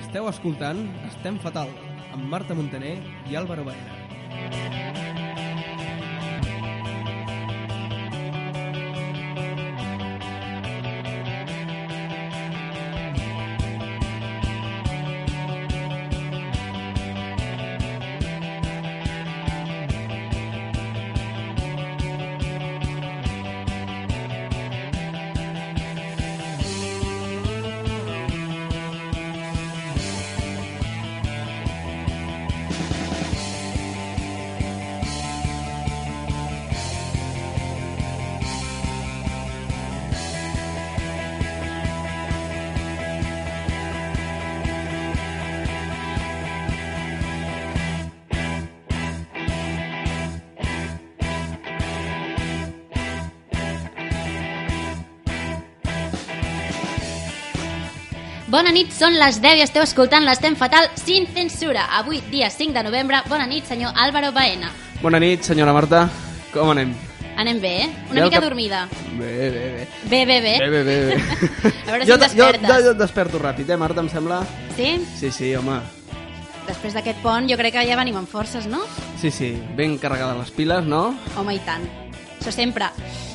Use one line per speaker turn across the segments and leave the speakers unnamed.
Esteu escoltant Estem Fatal, amb Marta Montaner i Álvaro Baena.
Bona nit, són les 10 i esteu escoltant l'Estem Fatal sin censura. Avui, dia 5 de novembre. Bona nit, senyor Álvaro Baena.
Bona nit, senyora Marta. Com anem?
Anem bé, eh? Una
Bé, el
mica
cap-
dormida.
Bé, bé, bé.
Bé, bé, bé.
Bé, bé, bé. bé.
Eh? A veure si
jo, jo,
em despertes.
jo, jo et desperto ràpid, eh, Marta, em sembla?
Sí?
Sí, sí, home.
Després d'aquest pont jo crec que ja venim amb forces, no?
Sí, sí, ben carregades les piles, no?
Home, i tant. Això sempre.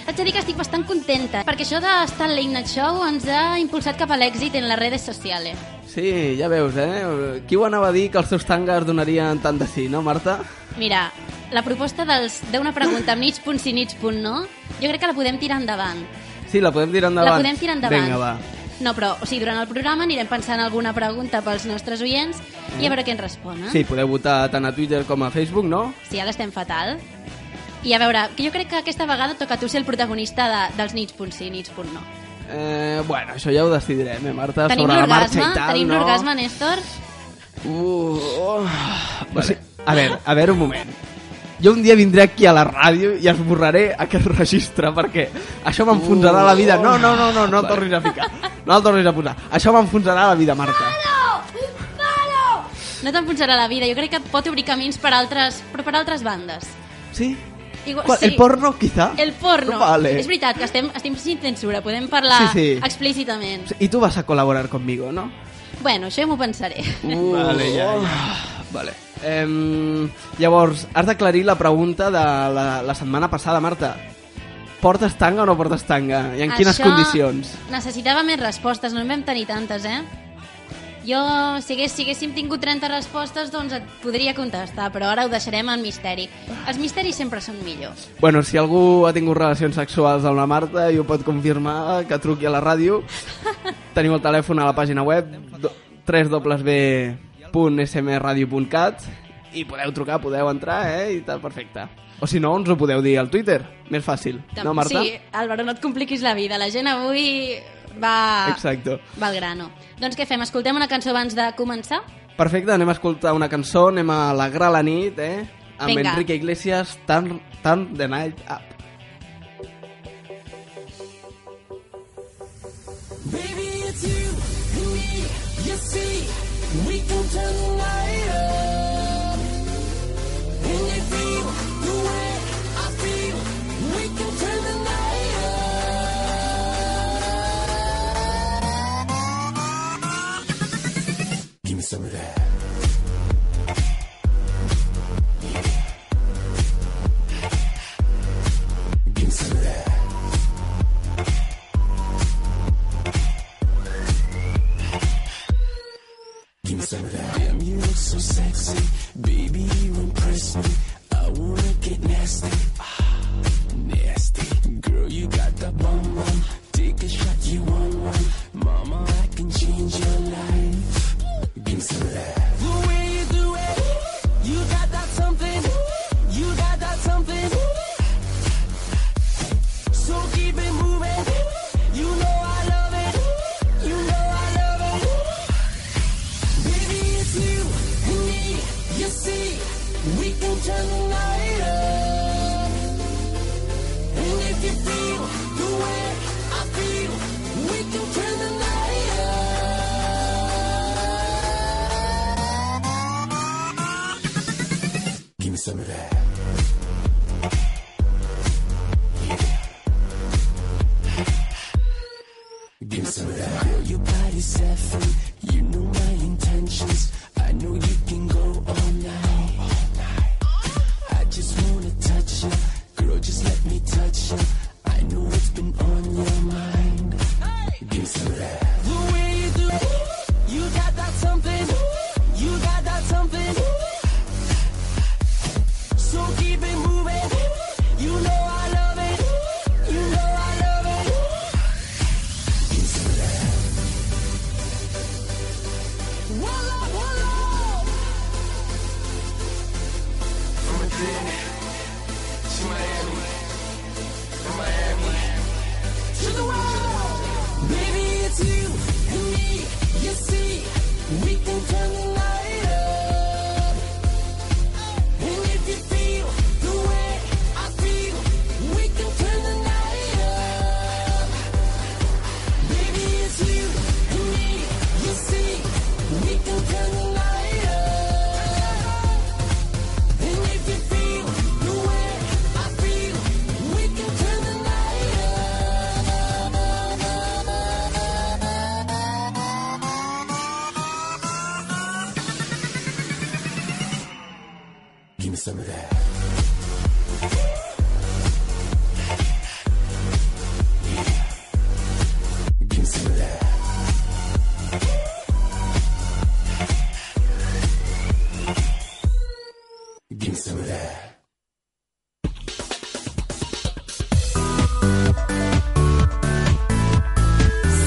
Haig de dir que estic bastant contenta, perquè això d'estar al Late Night Show ens ha impulsat cap a l'èxit en les redes socials.
Sí, ja veus, eh? Qui ho anava a dir que els seus tangues donarien tant de sí, no, Marta?
Mira, la proposta dels d'una pregunta amb nits punt sí, nits punt no, jo crec que la podem tirar endavant.
Sí, la podem tirar endavant.
La podem tirar endavant.
Vinga, va.
No, però, o sigui, durant el programa anirem pensant alguna pregunta pels nostres oients i a veure què ens responen.
Mm. Sí, podeu votar tant a Twitter com a Facebook, no?
Si ara estem fatal. I a veure, que jo crec que aquesta vegada toca a tu ser el protagonista de, dels nits punt sí, nits punt no.
Eh, bueno, això ja ho decidirem, eh, Marta?
tenim
sobre la marxa
l'orgasme,
i tal,
tenim
no?
l'orgasme, Néstor.
Uh, oh. vale. A veure, a veure un moment. Jo un dia vindré aquí a la ràdio i esborraré aquest registre perquè això m'enfonsarà la vida. No, no, no, no, no el tornis a ficar. No el tornis a posar. Això m'enfonsarà la vida, Marta.
No t'enfonsarà la vida, jo crec que pot obrir camins per altres, però per altres bandes.
Sí?
Igual-
Qual- El porno, quizá?
El porno.
Vale.
És veritat que estem, estem sin censura, podem parlar
Sí, sí.
explícitament.
Y tú vas a colaborar conmigo, ¿no?
Bueno, això ja m'ho pensaré.
vale, ja, Oh. Vale. Em, llavors, has d'aclarir la pregunta de la, la setmana passada, Marta. Portes tanga o no portes tanga? I en quines condicions?
Necessitava més respostes, no en vam tenir tantes, eh? Jo, si, hagués, si haguéssim tingut 30 respostes, doncs et podria contestar, però ara ho deixarem en misteri. Els misteris sempre són millors.
Bueno, si algú ha tingut relacions sexuals amb la Marta i ho pot confirmar, que truqui a la ràdio. Teniu el telèfon a la pàgina web do- www.smradio.cat i podeu trucar, podeu entrar, eh? I tal, perfecte. O si no, ens ho podeu dir al Twitter. Més fàcil. No, Marta?
Sí, Álvaro, no et compliquis la vida. La gent avui va...
Exacto.
Va al grano. Doncs què fem? Escoltem una cançó abans de començar?
Perfecte, anem a escoltar una cançó, anem a alegrar la nit, eh? Amb
Vinga.
Enrique Iglesias, Turn, Turn the Night Up.
Baby, it's you and me. You see, we can turn the light up. And you feel the way I feel. We can turn the night up. Give me some of that. Give me some of that. Give me some of that. Damn, you look so sexy. Baby, you impress me. I wanna get nasty. Ah, nasty. Girl, you got the bum bum. Take a shot, you want one. Mama, I can change your life. Give me some of that. The way you do it, you got that something. You got that something. So keep it moving. You know I love it. You know I love it. Baby, it's you and me. You see, we can turn the night up. And if you feel the way I feel, we can turn the night up. Give me some of that. Give me some of that. Girl, your body's set free. You know my intention. intentions. I know you can go all night. I just wanna touch you, girl. Just let me touch you. I know what's been on your mind. Give some that. The way you do, it, you got that something. You got that something. So keep it moving. You know I love it. You know I love it. Give some that. Voila, voila. From Madrid to Miami, from Miami to the world. Baby, it's you and me. You see, we can turn the night up. And if you feel the way I feel, we can turn the night up. Baby, it's you and me. You see, we can turn the night up. And if you feel the way I feel, we can turn the night up. Give me some of that. Give me some of that. Give me some of that.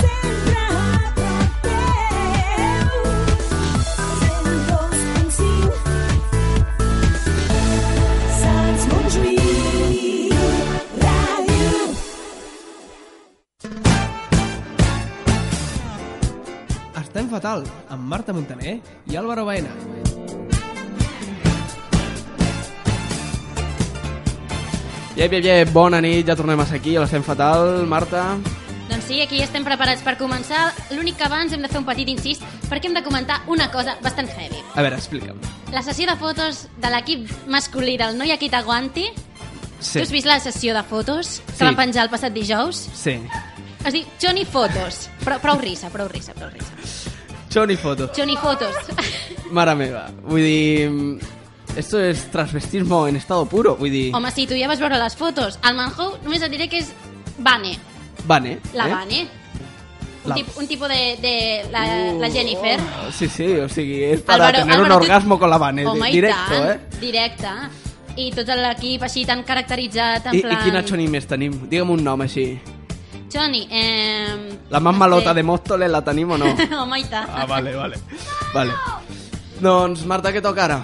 Sempre a teu, fent dos pensiu. Saps Montjuïc, ràdio.
Estem fatal, amb Marta Montaner i Álvaro Baena.
Iep, iep, iep, bona nit, ja tornem a ser aquí, a l'estem fatal, Marta.
Doncs sí, aquí estem preparats per començar. L'únic que abans hem de fer un petit incís perquè hem de comentar una cosa bastant heavy.
A veure, explica'm.
La sessió de fotos de l'equip masculí del Noia Qui T'Aguanti. Tu
Sí,
has vist la sessió de fotos que
Sí.
van penjar el passat dijous?
sí.
Es diu Johnny Fotos. Prou, prou risa, prou risa, prou risa.
Johnny Foto.
Johnny Fotos.
Mare meva, vull dir... Esto es transvestismo en estado puro, vull dir...
Home, si tu ja vas veure les fotos, el Manhou només et diré que és Vane,
Vane,
la
eh?
Vane. Un,
La-
tip, un tipus de, de la, la Jennifer.
Oh, sí, sí, o sigui, és para
Álvaro-
tener un
Álvaro, tu-
orgasmo con la Vane,
Home,
di-
i
directo,
tant,
eh?
Directe. I tot l'equip així tan caracteritzat, en
I,
plan...
I quina Johnny més tenim? Digue'm un nom així.
Johnny, eh...
La más malota de Móstoles la tenim o no?
Home, i tant.
Ah, vale, vale. Vale. Doncs, Marta, què toca ara?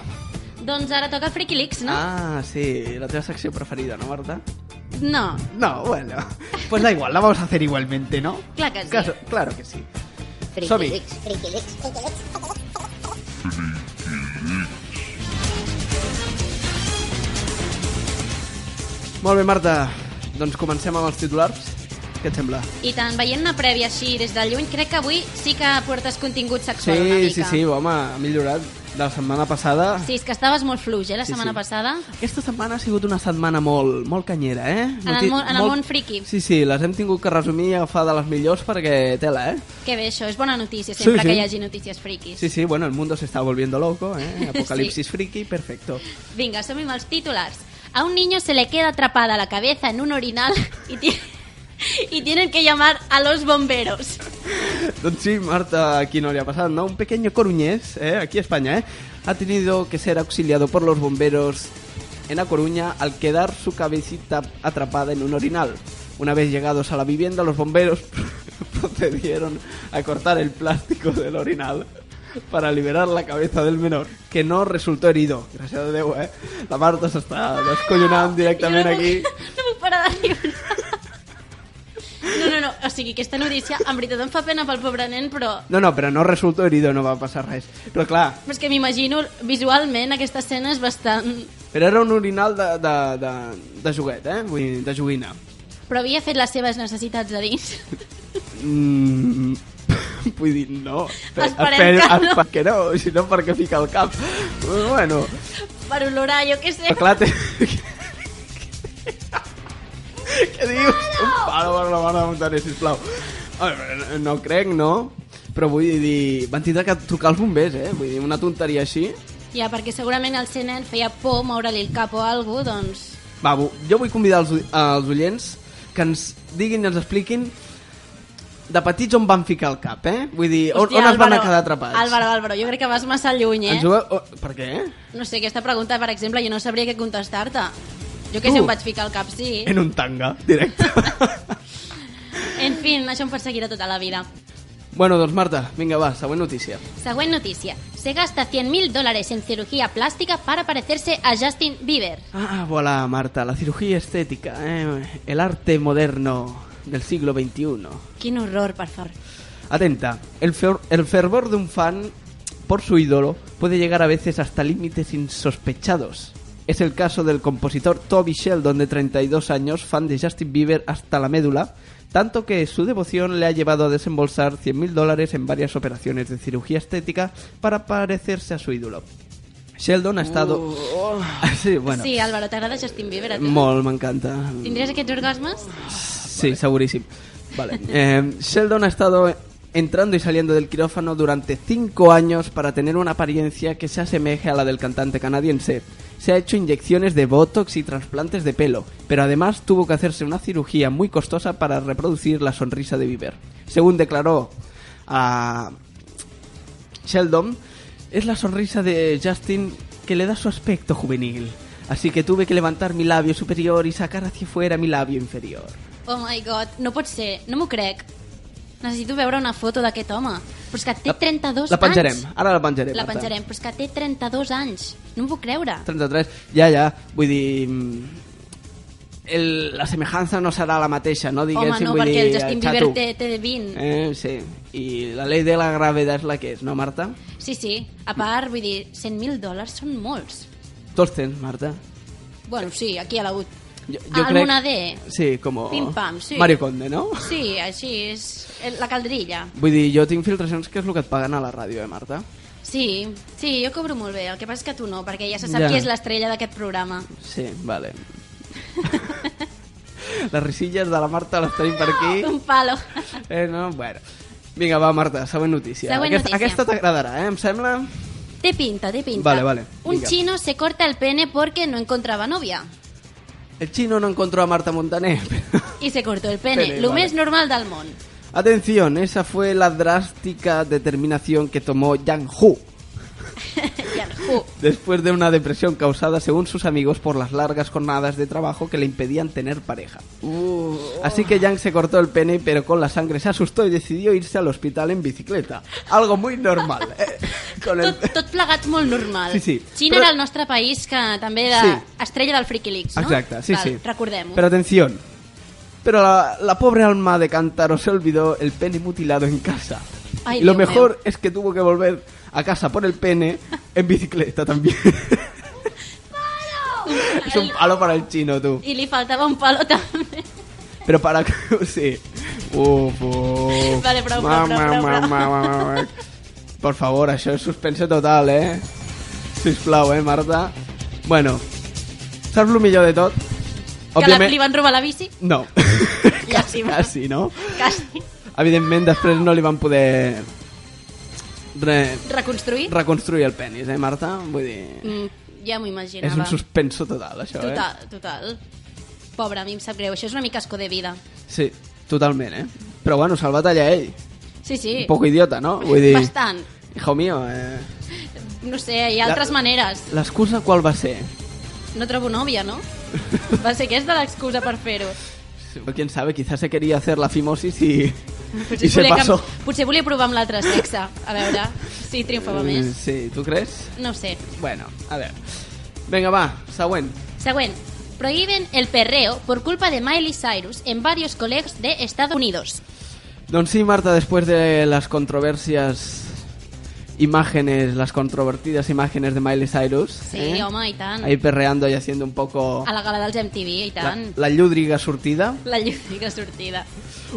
Doncs ara toca el Freaky Leaks, no?
Ah, sí, la teva secció preferida, ¿no, Marta?
No,
No, bueno. Pues da igual, la vamos a hacer igualmente, ¿no?
clar que sí.
Claro, claro que sí. Som-hi.
Freaky Leaks.
Molt bé, Marta. Doncs comencem amb els titulars. Què et sembla?
I tant, veient una prèvia així des de lluny, crec que avui sí que portes contingut sexual una
Sí,
mica.
sí, sí, home, ha millorat de la setmana passada.
Sí, és que estaves molt fluix, eh, la
Sí,
setmana
sí.
passada.
Aquesta setmana ha sigut una setmana molt, molt canyera, eh?
En el
Noti-
món- en el món friki.
Sí, sí, les hem tingut que resumir i agafar de les millors perquè tela, eh?
Que bé, això, és bona notícia, sempre
Sí, sí.
que hi hagi notícies friquis.
Sí, sí, bueno, el mundo se está volviendo loco, ¿eh? Apocalipsis friki, perfecto.
Vinga, som-hi amb els titulars. A un niño se le queda atrapada la cabeza en un orinal y, ti- y tienen que llamar a los bomberos.
Doncs sí, Marta, aquí no le ha pasado, ¿no? Un pequeño coruñés, ¿eh? aquí en España, ¿eh? ha tenido que ser auxiliado por los bomberos en A Coruña al quedar su cabecita atrapada en un orinal. Una vez llegados a la vivienda, los bomberos procedieron a cortar el plástico del orinal para liberar la cabeza del menor, que no resultó herido. Gracias a Dios, ¿eh? La Marta se está descollonando directamente
Jo no
aquí.
Puc, no puc parar de riure. No, no, no, o sigui, aquesta notícia en veritat em fa pena pel pobre nen, però
No, no, pero no resultó herido, no va a pasar res. Pero claro,
però és que m'imagino visualment aquesta escena és bastant...
Però era un orinal de, de, de, de joguet, eh? Vull dir, de joguina.
Però havia fet les seves necessitats de dins.
Mm, vull dir, no.
Esperem que no.
Perquè no, si no perquè fica el cap. Bueno,
Per olorar, jo què sé.
però clar... Té... Què dius? Un palo per la mare de Montaner, sisplau. A veure, no crec, no? Però vull dir, van tindre que trucar els bombers, eh? Vull dir, una tonteria així.
Ja, perquè segurament al ser nen feia por moure-li el cap o alguna cosa, doncs...
Va, bu- jo vull convidar els, u- els oients que ens diguin i ens expliquin de petits on van ficar el cap, eh? Vull dir, on, on es van
Álvaro,
quedar atrapats.
Álvaro, Álvaro, jo crec que vas massa lluny, eh?
Ens ho veu... o- Per què?
No sé, aquesta pregunta, per exemple, jo no sabria què contestar-te. Jo què sé,
Tu.
em vaig ficar al cap, sí.
En un tanga, directe.
En fi, això em perseguirà tota la vida.
bueno, doncs Marta, vinga, va, següent notícia.
Següent notícia. Se gasta 100.000 dólares en cirugía plástica para parecerse a Justin Bieber.
Ah, voilà, Marta, la cirugía estética, eh? El arte moderno del siglo XXI.
Quin horror, per favor.
Atenta, el, fer- el fervor de un fan por su ídolo puede llegar a veces hasta límites insospechados. Es el caso del compositor Toby Sheldon, de 32 años, fan de Justin Bieber hasta la médula, tanto que su devoción le ha llevado a desembolsar 100.000 dólares en varias operaciones de cirugía estética para parecerse a su ídolo. Sheldon ha estado... sí, bueno.
Sí, Álvaro, t'agrada Justin Bieber? A tu?
Molt, m'encanta.
Tindries aquests orgasmes?
Sí, segurísimo. Vale. Eh, Sheldon ha estado entrando y saliendo del quirófano durante cinco años para tener una apariencia que se asemeje a la del cantante canadiense. Se ha hecho inyecciones de botox y trasplantes de pelo, pero además tuvo que hacerse una cirugía muy costosa para reproducir la sonrisa de Bieber. Según declaró a Sheldon, es la sonrisa de Justin que le da su aspecto juvenil. Así que tuve que levantar mi labio superior y sacar hacia fuera mi labio inferior.
Oh my god, no pot ser, no m'ho crec. Necessito veure una foto d'aquest home. Però és que té 32
La penjarem,
anys.
ara la penjarem.
La
Marta.
penjarem, però és que té 32 anys. No m'ho puc creure.
33, ja, ja, vull dir... mm, El, la semejança no serà la mateixa, no? Diguéssim,
Home, no,
vull
perquè
dir,
el Justin Bieber
xato.
té, té 20.
Eh, sí. I la llei de la gravedad és la que és, no, Marta?
Sí, sí. A part, vull dir, 100.000 dòlars són molts.
Tu els tens, Marta?
Bueno, sí, aquí a la UT.
Jo,
Ah, alguna D.
Sí, com...
Pim-pam, sí.
Mario Conde, no?
Sí, així és el- la calderilla.
Vull dir, jo tinc filtracions que és el que et paguen a la ràdio, eh, Marta?
Sí, sí, jo cobro molt bé. El que passa és que tu no, perquè ja se sap
Ja.
qui és l'estrella d'aquest programa.
Sí, vale. les risilles de la Marta les tenim per aquí.
Un palo.
Eh, no, bueno. Vinga, va, Marta, següent notícia.
Següent
aquesta
notícia.
aquesta t'agradarà, eh, em sembla?
Té pinta, té pinta.
Vale, vale,
Un
vinga.
chino se corta el pene porque no encontraba novia.
El chino no encontró a Marta Montaner.
Y se cortó el pene,
Pene,
lo
vale.
més normal del món.
Atención, esa fue la drástica determinación que tomó Yang Hu
Yahoo.
después de una depresión causada, según sus amigos, por las largas jornadas de trabajo que le impedían tener pareja.
Uh.
Así que Yang se cortó el pene, pero con la sangre se asustó y decidió irse al hospital en bicicleta. Algo muy normal. eh, Con el...
Tot, tot plegat molt normal.
Sí, sí.
Xina
Però-
era el nostre país que també era
Sí.
estrella del Freaky Leaks, no?
Exacto, sí,
Val,
sí.
Recordem-ho.
Pero atención. Pero la, la pobre alma de Cántaro se olvidó el pene mutilado en casa.
Ay,
y lo
Dios
mejor
mío.
es que tuvo que volver a casa por el pene en bicicleta también. es un palo para el chino, tú.
I li faltava un palo també.
Pero para... sí. Uf, uf.
Vale, prou, prou, prou, prou, prou.
Por favor, això és suspense total, eh? Sisplau, eh, Marta? Bueno, saps el millor de tot?
Que la, li van robar la bici.
No.
Llàstima.
Quasi, no?
Quasi.
Evidentment, després no li van poder re
Reconstruir.
reconstruir el penis, eh, Marta? Vull dir...
Mm, ja m'ho imaginava.
És un eh? suspenso total, això,
Total, total. Pobre, a mi em sap greu. Això és una mica asco de vida.
eh? Sí, totalment, eh? Però bueno, salvat allà ell.
Sí, sí.
Un poco idiota, no? Vull dir...
Bastant.
Hijo mío, eh?
No sé, hi ha altres
La-
maneres.
L'excusa qual va ser?
No trobo nòvia, no? Va ser aquesta l'excusa per fer-ho.
O quién sabe, quizás se quería hacer la fimosis y,
Potser
y se
volia que-
pasó.
Potser volia provar amb l'altre sexe. A veure si triomfava
Mm,
més.
Sí, ¿tú crees?
No ho sé.
Bueno, a ver. Venga, va, següent.
Següent. Prohíben el perreo por culpa de Miley Cyrus en varios colegios de Estados Unidos.
Don sí, Marta, después de las controversias imágenes, las controvertidas imágenes de Miley Cyrus.
Sí,
¿eh?
home, i tant.
Ahí perreando y haciendo un poco
A la gala dels MTV, i
la,
tant.
la llúdriga surtida.
La llúdica sortida.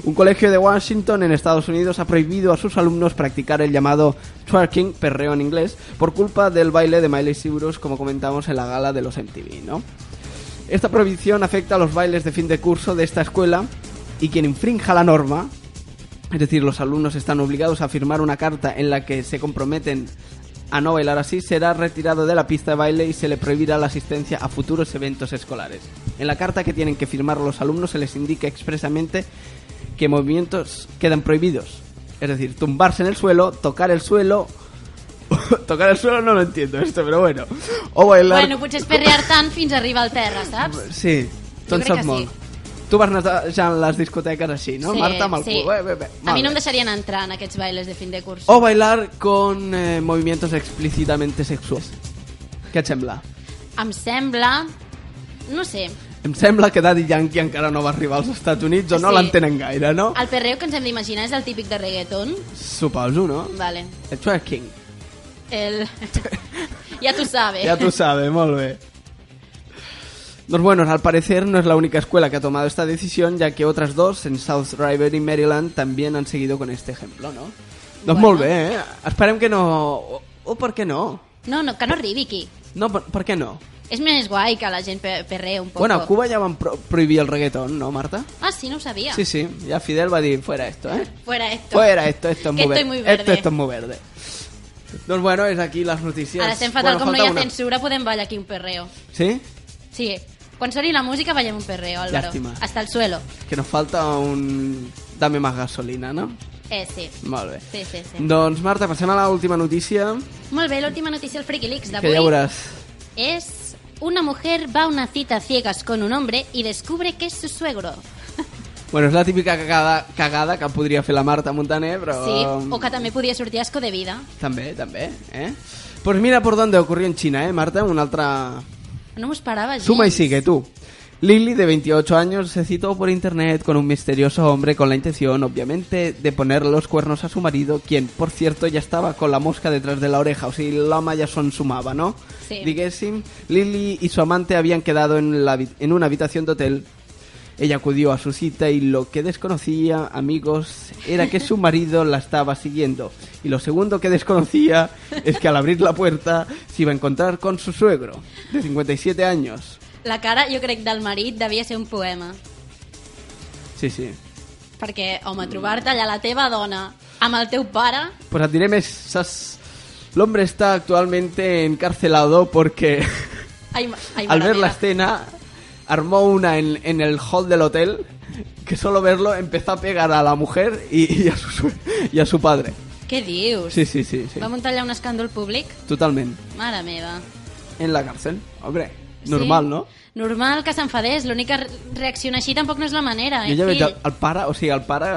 Un colegio de Washington en Estados Unidos ha prohibido a sus alumnos practicar el llamado twerking, perreo en inglés, por culpa del baile de Miley Cyrus, como comentamos en la gala de los MTV, ¿no? Esta prohibición afecta a los bailes de fin de curso de esta escuela y quien infrinja la norma Es decir, los alumnos están obligados a firmar una carta en la que se comprometen a no bailar así, será retirado de la pista de baile y se le prohibirá la asistencia a futuros eventos escolares. En la carta que tienen que firmar los alumnos se les indica expresamente que movimientos quedan prohibidos. Es decir, tumbarse en el suelo, tocar el suelo... tocar el suelo no lo entiendo esto, pero bueno. O bailar...
Bueno, potser és perrear tant fins a arribar al terra, saps?
Sí, tu en
crec
saps
que
molt.
sí.
Tu vas anar ja en les discoteques així, no? Marta, amb el
sí.
cul. Eh, bé, Oh. bé.
A mi
Molt
no em
bé.
deixarien entrar en aquests bailes de fin de curs.
O bailar con eh, movimientos explícitamente sexuals. Què et sembla?
Em sembla... No sé.
Em sembla que Daddy Yankee encara no va arribar als Estats Units o no
Sí.
l'entenen gaire, no?
El perreo que ens hem d'imaginar és el típic de reggaeton.
Suposo, no?
Vale.
El twerking.
El... ja tu sabes.
Ya tú sabes, molt bé. Pues bueno, al parecer no es la única escuela que ha tomado esta decisión, ya que otras dos, en South River y Maryland, también han seguido con este ejemplo, ¿no? Doncs
Bueno.
molt bé, eh? Esperem que no... O, o per què no?
No, no, que no arribi aquí.
No, per, per què no?
És més guai que la gent pe perreu un poc.
Bueno, a Cuba ja van pro prohibir el reggaeton, no, Marta?
Ah, sí, no ho sabia.
Sí, sí, ya Fidel va a decir, fuera esto, ¿eh?
Fuera esto.
Fuera esto, esto es
Que
muy
estoy
verde.
muy verde.
Esto, esto es muy verde. Doncs bueno, és aquí les notícies.
Ara estem fatal,
Bueno,
com no hi
falta
ha
una.
censura, podem ballar aquí un perreo.
Sí?
Sí, quan soni la música ballem un perreo, Álvaro.
Llàstima.
Hasta el suelo.
Que nos falta un... Dame más gasolina, no?
Eh, sí.
Molt bé.
Sí, sí, sí.
Doncs Marta, passem a l'última notícia,
Molt bé, l'última notícia del Freaky Leaks
que
d'avui
ja veuràs.
es... Una mujer va a una cita a ciegas con un hombre y descubre que es su suegro.
Bueno, és la típica cagada, cagada que podria fer la Marta Montaner, però... um,
Sí, o que també podia sortir asco de vida.
També, també, eh? Pues mira por dónde ocurrió en China, eh, Marta? Una altra
No m'ho esperava gens.
Suma y sigue tú. Lily, de 28 años, se citó por internet con un misterioso hombre con la intención, obviamente, de poner los cuernos a su marido, quien, por cierto, ya estaba con la mosca detrás de la oreja, o si la ya son sumaba, ¿no?
Sí.
Diguéssim, Lily y su amante habían quedado en, la habi- en una habitación de hotel. Ella acudió a su cita y lo que desconocía, amigos, era que su marido la estaba siguiendo. Y lo segundo que desconocía es que al abrir la puerta se iba a encontrar con su suegro, de 57 años.
La cara, jo crec, del marit devia ser un poema.
Sí, sí.
Perquè, home,
Mm.
trobar-te allà la teva dona amb el teu pare...
Pues et diré més, saps? L'hombre está actualmente encarcelado porque
Ai, ma- ai,
al
mare
ver la
meva.
escena armó una en, en el hall del hotel que solo verlo empezó a pegar a la mujer y, y a, su, sue- y a su padre.
Què dius?
Sí, sí, sí, sí.
Va muntar allà un escàndol públic?
Totalment.
Mare meva.
En la cárcel, hombre. Normal,
sí?
no?
Normal que s'enfadés, l'únic que re- reaccionar així tampoc no és la manera, eh,
Jo ja veig el,
fill?
el pare, o sigui, el pare,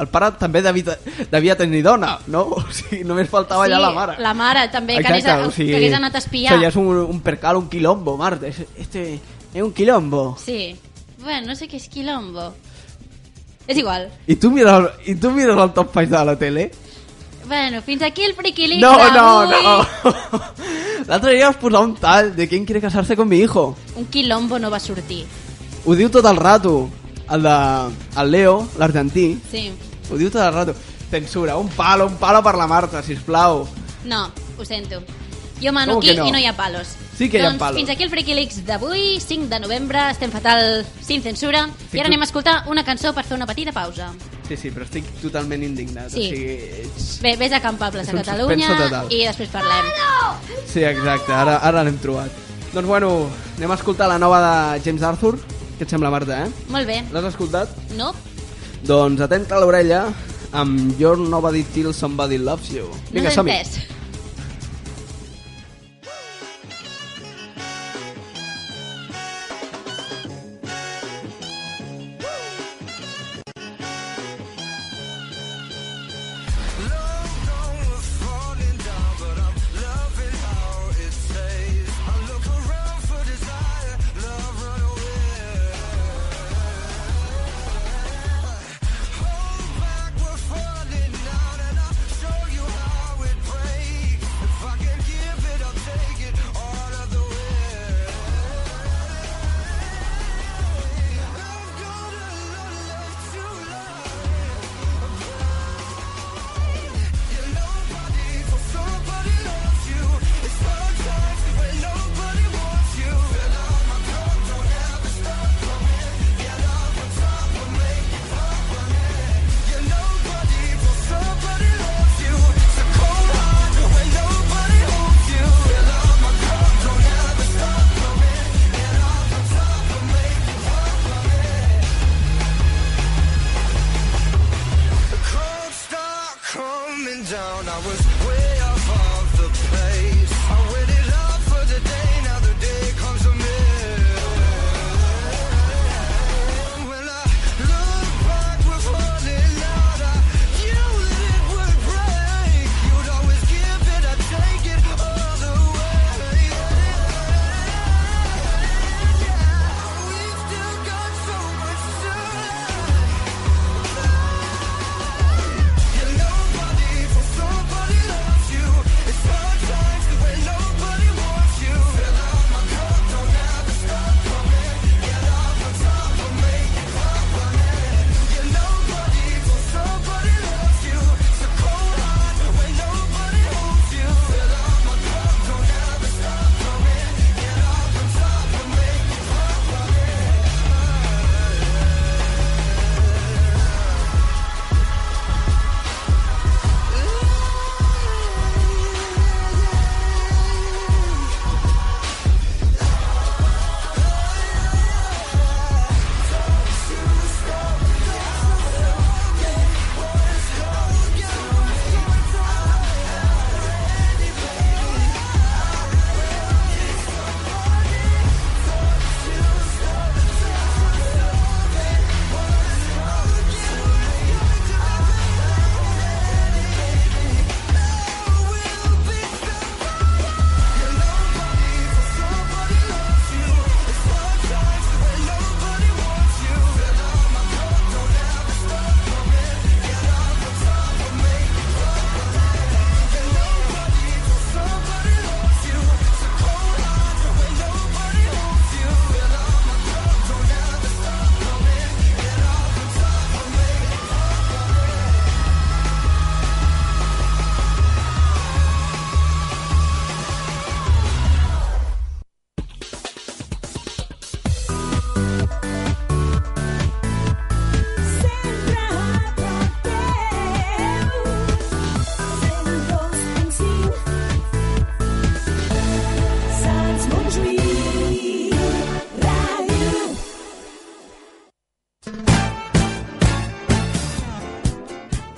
el pare també devia, devia tenir dona, no? O sigui, només faltava
Sí,
ja la mare.
la mare, també, que hagués- que hagués anat a espiar.
Això ja és un, un percal, un quilombo, Marta. És, este, és un quilombo.
Sí. Bueno, no sé què és quilombo. És igual.
I tu mires, i tu mires el top 5 de la tele?
Bueno, fins aquí el friquilic
No, no,
d'avui.
no. L'altre dia vas posar un tal de ¿Quién quiere casarse con mi hijo?
Un quilombo no va sortir.
Ho diu tot el rato. El de... El Leo, l'argentí,
Sí.
ho diu tot el rato. Censura, un palo, un palo per la Marta, sisplau.
No, ho sento. Jo mano
Com
aquí
que no?
i no hi ha palos.
Sí que hi ha
doncs,
palos.
fins aquí el Freaky Leaks d'avui, 5 de novembre, estem fatal, sin censura, i
tu-
ara anem a escoltar una cançó per fer una petita pausa.
Sí, sí, però estic totalment indignat.
Sí.
O sigui, ets-
Bé, vés a campables
És
a
un
Catalunya
suspenso total.
i després parlem.
sí exacte, ara, ara l'hem trobat. Doncs bueno, anem a escoltar la nova de James Arthur. Què et sembla, Marta, eh?
Molt bé.
L'has escoltat?
No?
Doncs atenta a l'orella amb Your Nobody Till Somebody Loves You.
No t'he
som-hi.
entès.
Show you how it breaks.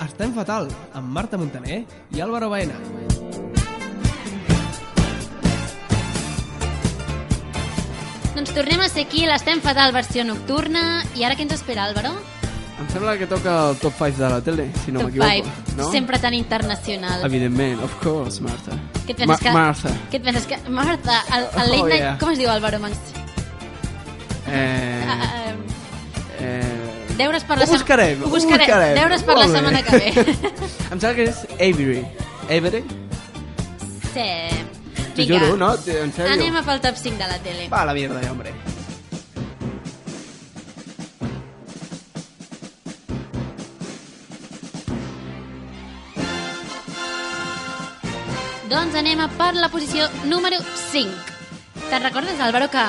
Estem fatal amb Marta Montaner i Álvaro Baena.
Doncs tornem a ser aquí, l'estem fatal versió nocturna. I ara què ens espera, Álvaro?
Em sembla que toca el top 5 de la tele, si no
Top
m'equivoco.
five.
No?
Sempre tan internacional.
Evidentment, of course, Marta.
Què et penses que...
Marta.
Què et penses que... Marta, el, el late
Oh,
night...
yeah.
Com es diu, Álvaro Mans?
Eh,
Uh,
eh...
deures per
Ho
la setmana...
buscarem,
Ho
ho
buscarem.
buscarem.
Deures per la
Molt bé.
setmana que ve.
Em sembla que és Avery. Avery?
sí.
T'ho juro, no? En sèrio?
Anem a pel top 5 de la tele.
Va a la mierda, ja, hombre.
Doncs anem a per la posició número 5. Te'n recordes, Álvaro, que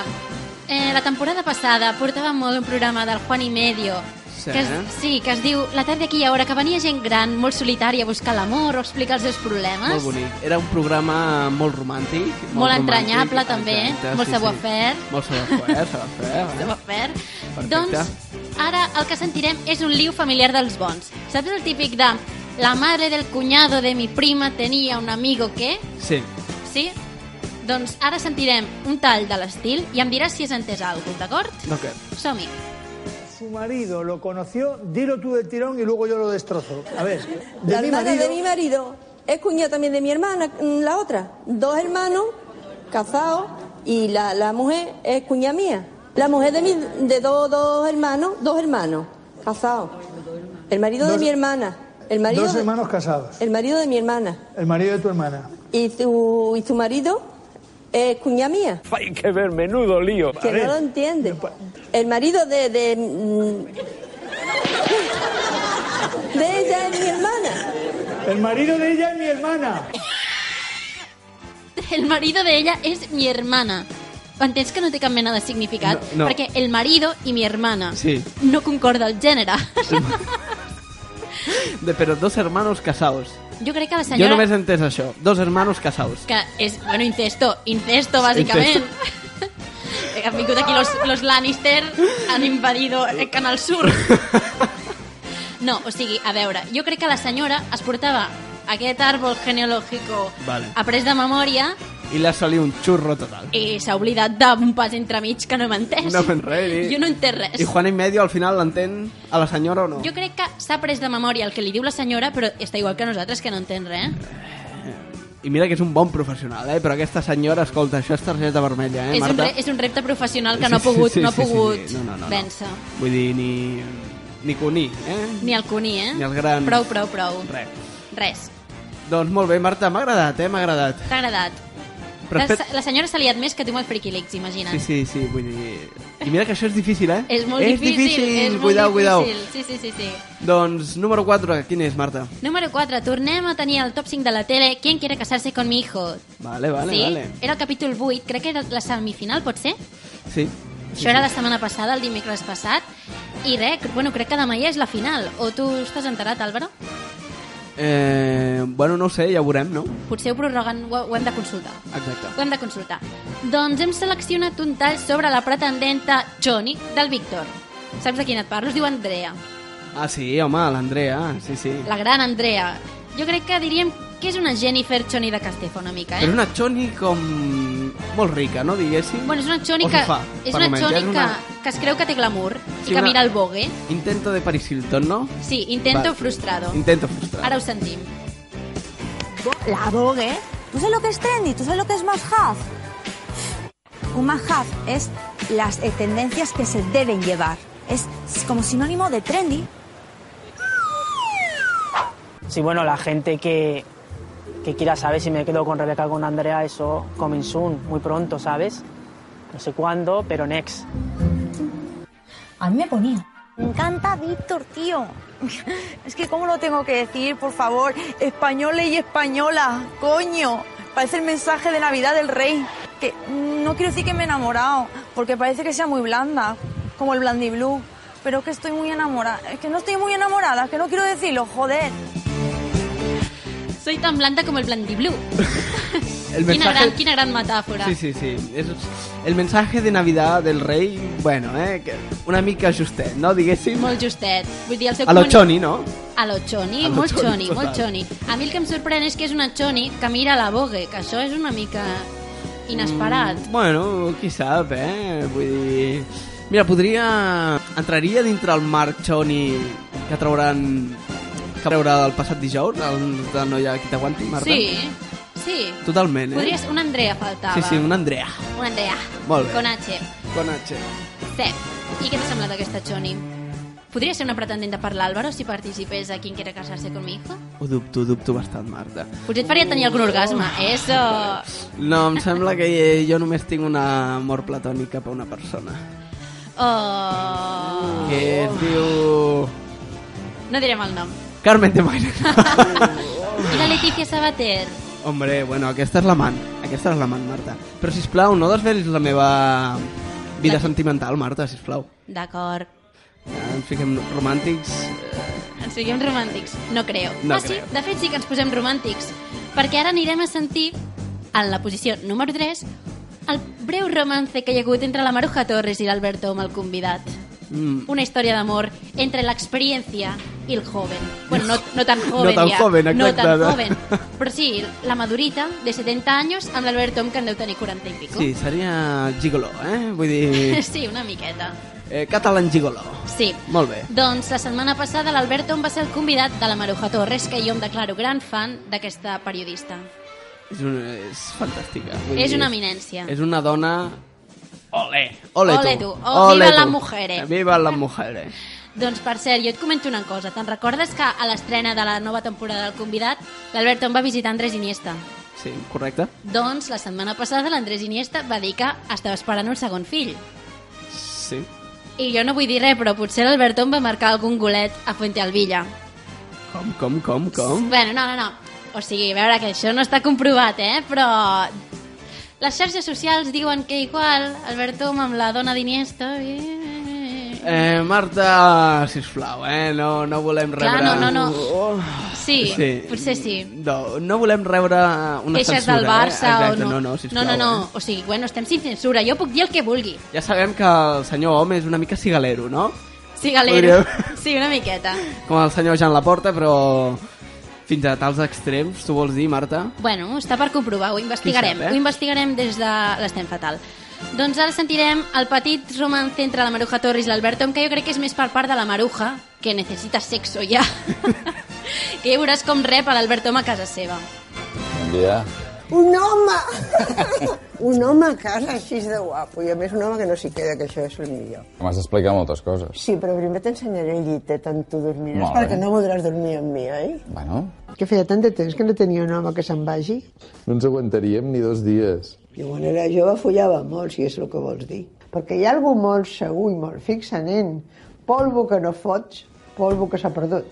eh, la temporada passada portava molt un programa del Juan y Medio
Sí.
que es, sí, que es diu La tarda aquí i ara, que venia gent gran, molt solitària, a buscar l'amor o explicar els seus problemes.
Molt bonic. Era un programa molt romàntic. Molt,
Molt
romàntic,
entranyable, també, eh? Molt savoir-faire.
Molt savoir-faire, savoir-faire.
de
eh?
Bofer.
Perfecte.
Doncs ara el que sentirem és un liu familiar dels bons. Saps el típic de la madre del cunyado de mi prima tenia un amigo que...
Sí.
Sí? Doncs ara sentirem un tall de l'estil i em diràs si has entès alguna cosa, d'acord?
No, que...
Som-hi.
Su marido lo conoció, dilo tú del tirón y luego yo lo destrozo. A ver, de
La
mi
hermana
marido...
de mi marido es cuñada también de mi hermana, mm, la otra. Dos hermanos casados y la, la mujer es cuñada mía. La mujer de, mi, de dos, dos hermanos, dos hermanos casados. El marido de
Dos-
mi hermana. El marido,
Dos
de-
hermanos casados.
el marido de mi hermana.
El marido de tu hermana.
Y su, y su marido es cuñada mía,
Hay que ver, menudo lío.
que
ver.
no lo entiende. El marido de... De, mm, de ella es mi hermana.
El marido de ella es mi hermana.
El marido de ella és mi hermana. Entens que no té cap mena de significat?
No, no.
Perquè el marido i mi hermana
Sí.
no concorda el gènere.
De, però dos hermanos casados.
Jo crec que la
Jo
senyora...
només he entès això. Dos hermanos casados.
Que és, bueno, incesto, incesto, básicamente. Que Han vingut aquí los, los Lannister, han invadido el Canal Sur. No, o sigui, a veure, jo crec que la senyora es portava aquest àrbol genealògico
Vale.
après de memòria
I li ha salit un xurro total.
i s'ha oblidat d'un pas entremig que no m'ha entès.
No m'he enrere.
Eh, Jo no he entès res.
I Juan y Medio al final l'entén a la senyora o no?
Jo crec que s'ha après de memòria el que li diu la senyora, però està igual que nosaltres, que no entén res.
I mira que és un bon professional, eh? Però aquesta senyora, escolta, això és targeta vermella, eh,
és, un
Marta?
re, és un repte professional que no ha pogut, no ha pogut
No, no, no,
vèncer.
No. Vull dir, ni... Ni cuní, eh?
Ni el cuní, eh?
Ni el gran.
Prou, prou, prou.
Res.
Res.
Doncs molt bé, Marta, m'ha agradat, eh? M'ha agradat.
T'ha agradat.
Però
la,
espera-
se- la senyora s'ha liat més que tu amb el Friki Leaks, imagina't.
Sí, sí, sí, vull dir... I mira que això és difícil, eh?
És molt
és
difícil. és molt
cuidau, cuidau.
difícil. Sí, sí, sí, sí.
Doncs, número 4, quin és, Marta?
Número 4. Tornem a tenir el top 5 de la tele. ¿Quién quiere casarse con mi hijo?
Vale, vale,
sí?
vale.
Era el capítol 8, crec que era la semifinal, pot ser? Sí,
Sí.
Això era la setmana passada, el dimecres passat. I res, cre- bueno, crec que demà ja és la final. O tu estàs enterat, Álvaro?
Eh, bueno, no ho sé, ja ho veurem, no?
Potser ho prorroguen, ho, ho hem de consultar. Ho
Exacte.
hem de consultar. Doncs hem seleccionat un tall sobre la pretendenta Johnny del Víctor. Saps de quina et parlo? Es diu Andrea.
Ah, sí, home, l'Andrea, sí, sí.
La gran Andrea. Jo crec que diríem que és una Jennifer Johnny de Castefa una mica, eh?
Però una Choni com... molt rica, no, diguéssim?
Bueno, és una Johnny
O
que,
sofà,
és
per
una
almenys,
Johnny
és una-
que, que es creu que té glamour
Sí,
i que
una-
mira el bogue.
Intento de Paris Hilton, no?
Sí, intento
Va.
frustrado.
Intento frustrar.
Ara ho sentim.
La Vogue.
¿eh? ¿Tú sabes lo que es trendy? ¿Tú sabes lo que es más half? Un más half es las eh, tendencias que se deben llevar. Es como sinónimo de trendy.
Sí, bueno, la gente que, que quiera saber si me quedo con Rebeca o con Andrea, eso coming soon, muy pronto, ¿sabes? No sé cuándo, pero next.
A mí me ponía. Me encanta Víctor, tío.
Es que, ¿cómo lo tengo que decir, por favor? Españoles y españolas, coño. Parece el mensaje de Navidad del rey. Que mm, no quiero decir que me he enamorado, porque parece que sea muy blanda, como el Blandy Blue. Pero que estoy muy enamorada. Es que no estoy muy enamorada, que no quiero decirlo, joder.
Soy tan blanda com el Blandy Blue.
El
Quina
mensaje-
gran, quina gran metàfora.
Sí, sí, sí. És el mensaje de Navidad del rei, bueno, eh, que una mica justet, no? Diguéssim,
Molt justet. Vull dir, el seu
a lo
comuni-
Choni, no?
A lo choni,
A lo
molt
choni,
choni,
total.
molt choni. A mi el que em sorprèn és que és una choni que mira la Vogue, que això és una mica inesperat.
Mm, Bueno, qui sap, eh? Vull dir... Mira, podria... Entraria dintre el Marc Choni que trauran... que traurà del passat dijous, el de noia qui t'aguanti, Marta?
Sí, sí.
Totalment, eh?
Podries... Una Andrea faltava.
Sí, sí, una Andrea.
Una Andrea.
Molt bé.
Con H.
Con H.
Sí. I què t'ha semblat aquesta choni? Podria ser una pretendenta per l'Àlvaro si participés a Quien quiere casarse con mi hijo?
Ho dubto, ho dubto bastant, Marta.
Potser et faria tenir algun orgasme.
Oh.
Eso.
No, em sembla que jo només tinc un amor platònic cap a una persona.
Oh.
Que es diu...
No direm el nom.
Carmen de Maire.
I la Letícia Sabater.
Hombre, bueno, aquesta és l'amant. Aquesta és l'amant, Marta. Però, si plau, no desvelis la meva vida sentimental, Marta, si plau.
D'acord.
Ens fiquem romàntics.
Ens siguem romàntics. No creo.
No
ah, sí?
creo.
De fet, sí que ens posem romàntics. Perquè ara anirem a sentir, en la posició número 3, el breu romance que hi ha hagut entre la Maruja Torres i l'Alberto amb el convidat.
Mm.
Una història d'amor entre l'experiència i el joven. Bueno, no, no tan joven
No tan
ja.
joven,
No
exacte.
tan joven. Però sí, la madurita de 70 anys amb l'Alberto amb que en deu tenir 40 i pico.
Sí, seria gigoló, eh? Vull dir...
sí una miqueta.
Eh, catalan gigoló.
Sí.
Molt bé.
Doncs la setmana passada l'Alberto em va ser el convidat de la Maruja Torres, que jo em declaro gran fan d'aquesta periodista.
És, una, és fantàstica. Vull
És
dir,
una eminència.
És una dona... Ole! Ole,
Ole
tu!
tu. Oh,
Ole
viva
tu.
la mujer.
Viva la mujer.
Doncs per cert, jo et comento una cosa. Te'n recordes que a l'estrena de la nova temporada del convidat l'Alberto em va visitar Andrés Iniesta?
Sí, correcte.
Doncs la setmana passada l'Andrés Iniesta va dir que estava esperant un segon fill.
Sí.
I jo no vull dir res, però potser l'Alberto em va marcar algun golet a Fuente Alvilla.
Com, com, com, com?
Bueno, no, no, no. O sigui, a veure, que això no està comprovat, eh? Però les xarxes socials diuen que igual Alberto amb la dona d'Iniesta... eh,
Eh, Marta, sisplau, eh? No, no volem rebre...
Clar, no, no, no.
Oh.
Sí, potser sí.
No, no volem rebre eh, una
Queixes
censura,
del
eh?
Barça o
Exacte,
no.
no, no, sisplau,
no, no, no.
Eh?
O sigui, bueno, estem sin censura. Jo puc dir el que vulgui.
Ja sabem que el senyor home és una mica cigalero, no?
Sí, galero.
Podríem-
Sí, una miqueta.
Com el senyor Jean Laporta, però fins a tals extrems, tu vols dir, Marta?
Bueno, està per comprovar, ho investigarem.
Qui sap, eh?
Ho investigarem des de l'estem fatal. Doncs ara sentirem el petit romance entre la Maruja Torres i l'Alberto, que jo crec que és més per part de la Maruja, que necessita sexo ja. que ja veuràs com rep a l'Alberto a casa seva.
Ja.
Un home! un home a casa així de guapo, i a més un home que no s'hi queda, que això és el millor.
M'has d'explicar moltes coses.
Sí, però primer t'ensenyaré el eh, llitet on tu dormiràs,
Molt bé.
perquè no voldràs dormir amb mi, oi?
Bueno.
Que feia tant de temps que no tenia un home que se'n vagi.
No ens aguantaríem ni dos dies.
Jo quan era jove follava molt, si és el que vols dir. Perquè hi ha algú molt segur i molt fixa, nen. Polvo que no fots, polvo que s'ha perdut.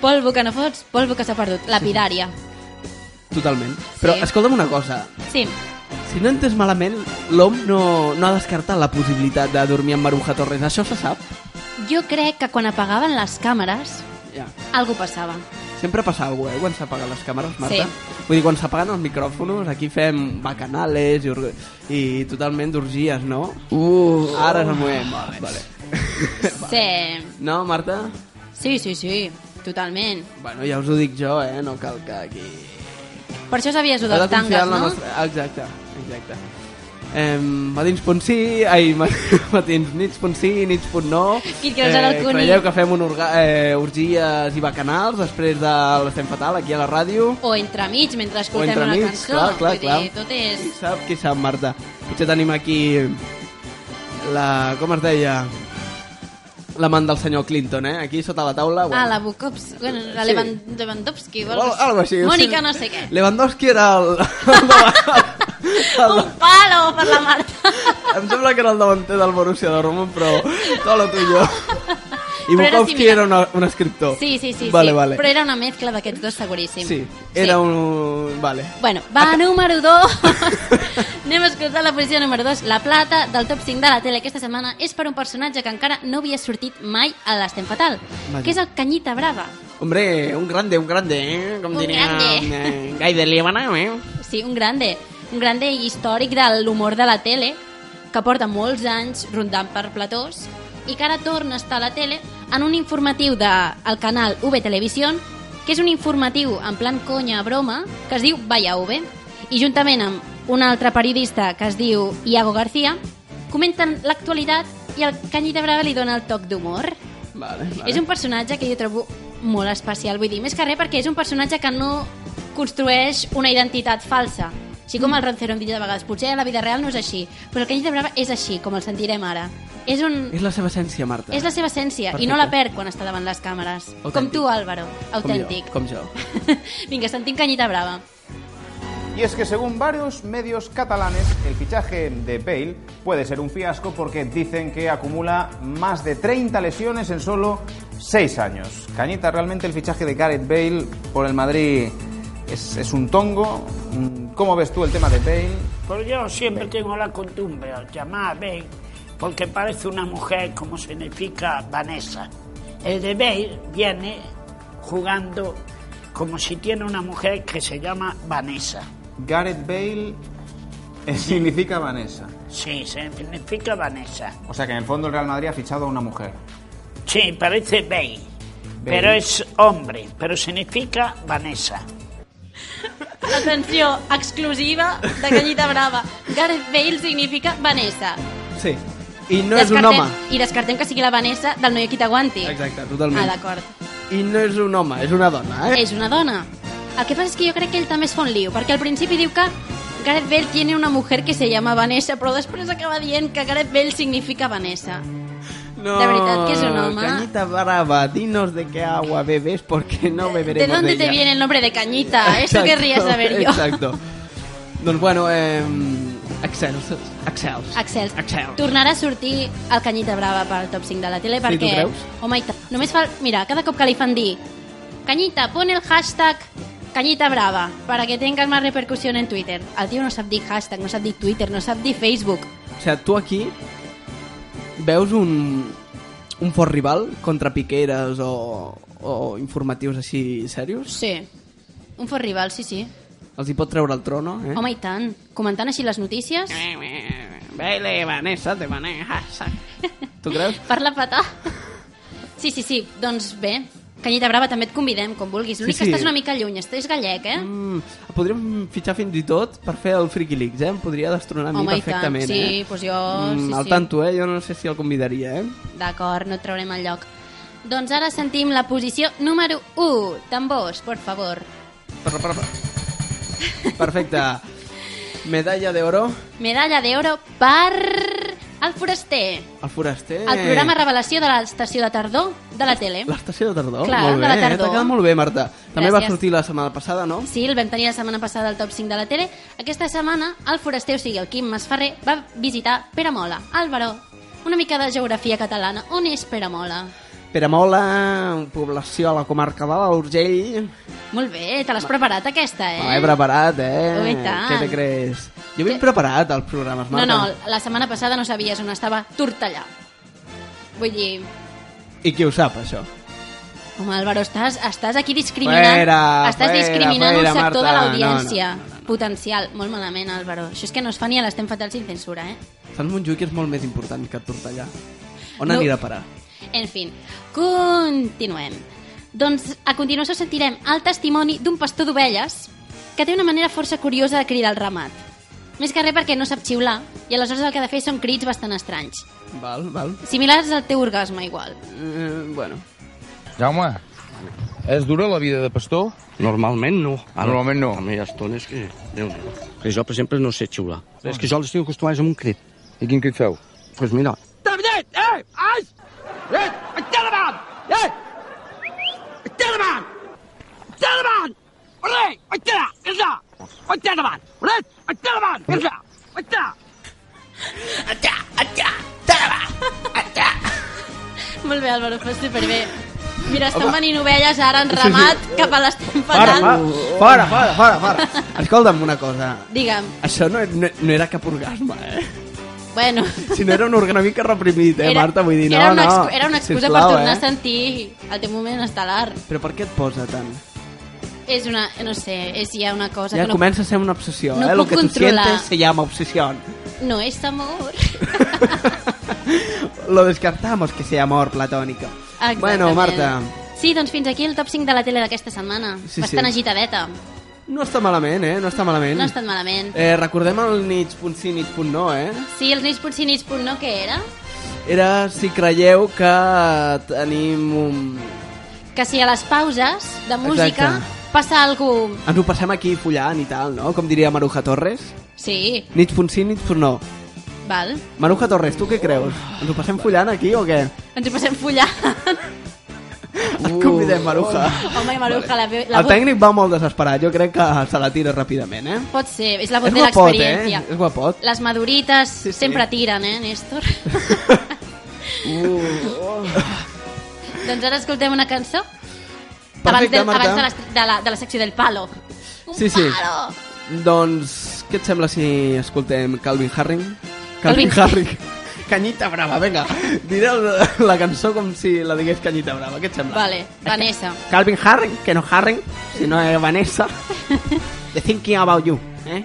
Polvo que no fots, polvo que s'ha perdut. Lapidària.
Totalment. Però escolta'm una cosa,
Sí.
si no he entès malament, l'OM no, no ha descartat la possibilitat de dormir amb Maruja Torres. Això se sap?
Jo crec que quan apagaven les càmeres,
Ja.
algo passava.
Sempre passa alguna cosa, eh, quan s'apaguen les càmeres, Marta?
Sí.
Vull dir, quan s'apaguen els micròfons, aquí fem bacanales i, org- i totalment d'orgies, no? Uh, Ara és el moment. Vale. vale.
Sí,
No, Marta?
sí, sí, sí. Totalment.
Bueno, ja us ho dic jo, eh? No cal que aquí...
Per això sabies ho
Heu
dels
de confiar
tangues,
en la
no?
nostra- Exacte, exacte. Eh, matins punt sí, ai, ma- matins nits punt sí, nits punt no. Eh,
Qui et creus ara el Cuny?
Creieu que fem un orga, eh, orgies i bacanals després de l'Estem Fatal aquí a la ràdio?
O entremig, mentre
O
escoltem
entre
una
nits,
cançó.
clar, clar,
Vull
clar.
Dir, tot és...
Qui sap, qui sap, Marta. Potser tenim aquí la... com es deia? L'amant del senyor Clinton, eh? Aquí sota la taula.
Ah, la Bukovs... Bueno, la
Sí.
Levan- Lewandowski. o
Algo, algo així.
Mónica
Sí.
no sé què.
Lewandowski era el... el davant- el-
Un palo per la Marta.
Em sembla que era el davanter del Borussia Dortmund, però tot lo tuyo. I
Però era
Bukowski
similar.
era una, un escriptor.
Sí, sí, sí.
Vale,
sí.
vale.
Però era una mezcla d'aquests dos seguríssim.
Sí, era un... Vale.
Bueno, va número 2. Anem a escoltar la posició número 2. La plata del top 5 de la tele aquesta setmana és per un personatge que encara no havia sortit mai a l'Estem Fatal,
Vaja.
que és el Canyita Brava.
Hombre, un grande, un grande, eh? Com
Un
diria...
grande.
eh, Gai de Líbana, eh?
Sí, un grande. Un grande històric de l'humor de la tele, que porta molts anys rondant per platós i que ara torna a estar a la tele en un informatiu del el canal V Televisió, que és un informatiu en plan conya broma, que es diu Vaya V, i juntament amb un altre periodista que es diu Iago García, comenten l'actualitat i el Canyi de Brava li dona el toc d'humor.
Vale, vale.
És un personatge que jo trobo molt especial, vull dir, més que res perquè és un personatge que no construeix una identitat falsa. Així
Mm.
com el Roncero hem dit de vegades, potser a la vida real no és així, però el Canyell de Brava és així, com el sentirem ara. És, un,
És la seva essència, Marta.
és la seva essència, i
Perfecte.
no la perd quan està davant les càmeres. Com
Autèntic.
tu, Álvaro, autèntic.
Com jo. Com jo.
Vinga, sentim Canyita Brava.
Y es que según varios medios catalanes, el fichaje de Bale puede ser un fiasco porque dicen que acumula más de 30 lesiones en solo 6 años. Cañita, realmente el fichaje de Gareth Bale por el Madrid es, es un tongo. Mm, ¿Cómo ves tú el tema de Bale?
Pues yo siempre tengo la costumbre de llamar a Bale porque parece una mujer como significa Vanessa. El de Bale viene jugando como si tiene una mujer que se llama Vanessa.
Gareth Bale eh, significa Vanessa.
Sí, significa Vanessa.
O sea que en el fondo el Real Madrid ha fichado a una mujer.
Sí, parece Bale,
Bale.
pero es hombre, pero significa Vanessa.
Atenció, exclusiva de Canyita Brava. Gareth Bale significa Vanessa.
Sí. I no és un home.
I descartem que sigui la Vanessa del noi qui t'aguanti.
Exacte,
Ah,
totalment.
d'acord.
I no és un home, és una dona, eh?
És una dona. El que passa és que jo crec que ell també es fa un lío, perquè al principi diu que Gareth Bale tiene una mujer que se llama Vanessa, però després acaba dient que Gareth Bale significa Vanessa.
No,
de veritat que és un home.
Cañita brava, dinos de qué agua bebes porque no
¿De
beberemos de
dónde te
ella.
viene el nombre de Cañita? Eso
Exacto,
querría saber yo.
Exacto. Doncs bueno, eh, excels, excels.
Axel,
Excel.
tornarà a sortir el Canyita Brava pel top 5 de la tele
Sí,
perquè...
tu creus?
Home, i tant. Només fa... Mira, cada cop que li fan dir Canyita, pon el hashtag Canyita Brava para que tengas más repercusión en Twitter. El tio no sap dir hashtag, no sap dir Twitter, no sap dir Facebook.
O sigui, tu aquí veus un, un fort rival contra piqueres o, o informatius així serios?
Sí. Un fort rival, sí, sí.
Els hi pot treure el trono, eh?
Eh? Home, i tant. Comentant així les notícies...
Baile, Vanessa, te manejas. Tu creus?
Parla patà. Sí, sí, sí. Doncs bé, Canyita Brava, també et convidem, com vulguis. L'únic
Sí,
sí,
sí.
que estàs una mica lluny, estàs gallec, eh?
Mm, podríem fitxar fins i tot per fer el Freaky Leaks, eh? Em podria destronar a mi
Home, i tant.
perfectament,
Sí,
eh?
doncs jo... sí,
al
sí.
tanto, eh? Jo no sé si el convidaria, eh?
D'acord, no et traurem el lloc. Doncs ara sentim la posició número 1. Tambors, por favor.
Parra, parra, parra. Perfecte. Medalla d'oro
Medalla d'oro per... El foraster.
al foraster.
El programa Revelació de l'estació de tardor de la tele.
L'estació de tardor.
Clar,
molt
de
bé,
la
eh?
tardor.
T'ha quedat molt bé, Marta. També va
Gràcies.
sortir la setmana passada, no?
Sí, el vam tenir la setmana passada al top 5 de la tele. Aquesta setmana, el foraster, o sigui, el Quim Masferrer, va visitar Peramola, al Baró. Una mica de geografia catalana. On és Peramola?
Peramola, població a la comarca de l'Urgell.
Molt bé, te l'has preparat aquesta, eh?
Me l'he preparat, eh?
Oh, i tant.
Què te crees? Jo ben preparat els programes,
No,
Marta.
no, la setmana passada no sabies on estava Tortellà. Vull dir,
I qui ho sap, això?
home, Álvaro, estàs, estàs aquí discriminant...
Fuera,
estàs
fuera,
discriminant
fuera,
un
Marta,
sector de
no,
l'audiència. Potencial. Molt malament, Álvaro. Això és que no es fa ni a l'estem fatal sin censura, eh?
Sant Montjuïc és molt més important que Tortellà. On
No.
anirà a parar?
En fin, continuem. Doncs a continuació sentirem el testimoni d'un pastor d'ovelles que té una manera força curiosa de cridar el ramat. Més que res perquè no sap xiular i aleshores el que ha de fer són crits bastant estranys.
Val, val.
Similars al teu orgasme, igual.
Eh, bueno.
Jaume, és dura la vida de pastor?
Normalment no.
Ah,
Ara, Normalment no. També hi ha estones que... déu nhi Que jo, per exemple, no sé xiular. És que jo l'estic acostumat amb un crit. I quin crit feu? Doncs pues mira,
David, eh! Ai! Eh! Esteban! Eh! Esteban! Esteban! Olé! Estela! Esa! Esteban! Olé! Esteban! Esa! Estela! Estela! Estela!
Molt bé, Álvaro, fas superbé. Mira, estan venint ovelles ara en ramat cap a l'estem
Fora,
patant.
fora, fora, fora, fora. Escolta'm una cosa.
Digue'm,
Això no, no, no era cap orgasme, eh?
bueno,
Si no era un orgasme mica reprimit, eh,
Era-
Marta? Vull dir, no,
era, una
no.
excu- era una excusa
Sisplau,
per tornar
eh?
a sentir el teu moment estel·lar.
Però per què et posa tant?
És una, no sé, és ja una cosa
ja
que no,
comença a ser una obsessió,
no
eh? Lo
puc
que
controlar.
tu sientes se llama obsesión.
no és amor.
Lo descartamos que sea amor platónico.
Exactament.
Bueno, Marta.
Sí, doncs fins aquí el top 5 de la tele d'aquesta setmana.
Sí, sí.
Bastant agitadeta.
No està malament, eh? No està malament.
No ha estat malament.
Eh, recordem el nits.sí, nits.no, eh?
Sí, els nits potser nits punt no, què era?
Era si creieu que tenim un...
Que si a les pauses de música
Exacte.
passa algú...
Ens ho passem aquí follant i tal, no? Com diria Maruja Torres.
Sí,
Nits.sí, nits.no.
val.
Maruja Torres, tu què creus? Ens ho passem follant aquí o què?
Ens hi passem follant.
Et convidem, Maruja.
Home, Maruja, la, ve- la
El tècnic va molt desesperat, jo crec que se la tira ràpidament, eh?
Pot ser, és la
És
bot de
guapot, eh?
l'experiència.
És guapot.
Les madurites sempre tiren, eh, Néstor?
Uh,
doncs ara escoltem una cançó. abans,
Perfecte,
del,
Marta.
abans de, la, de, la, de la secció del palo. Un
Sí, sí.
palo!
Doncs, què et sembla si escoltem Calvin Harris? Calvin
Calvin-
Harris. Canyita brava, vinga. Diré el- la cançó com si la digués Canyita brava. Què et sembla?
Vale, Vanessa.
Calvin Harris, que no Harris, sinó eh, Vanessa. The Thinking About You. Eh?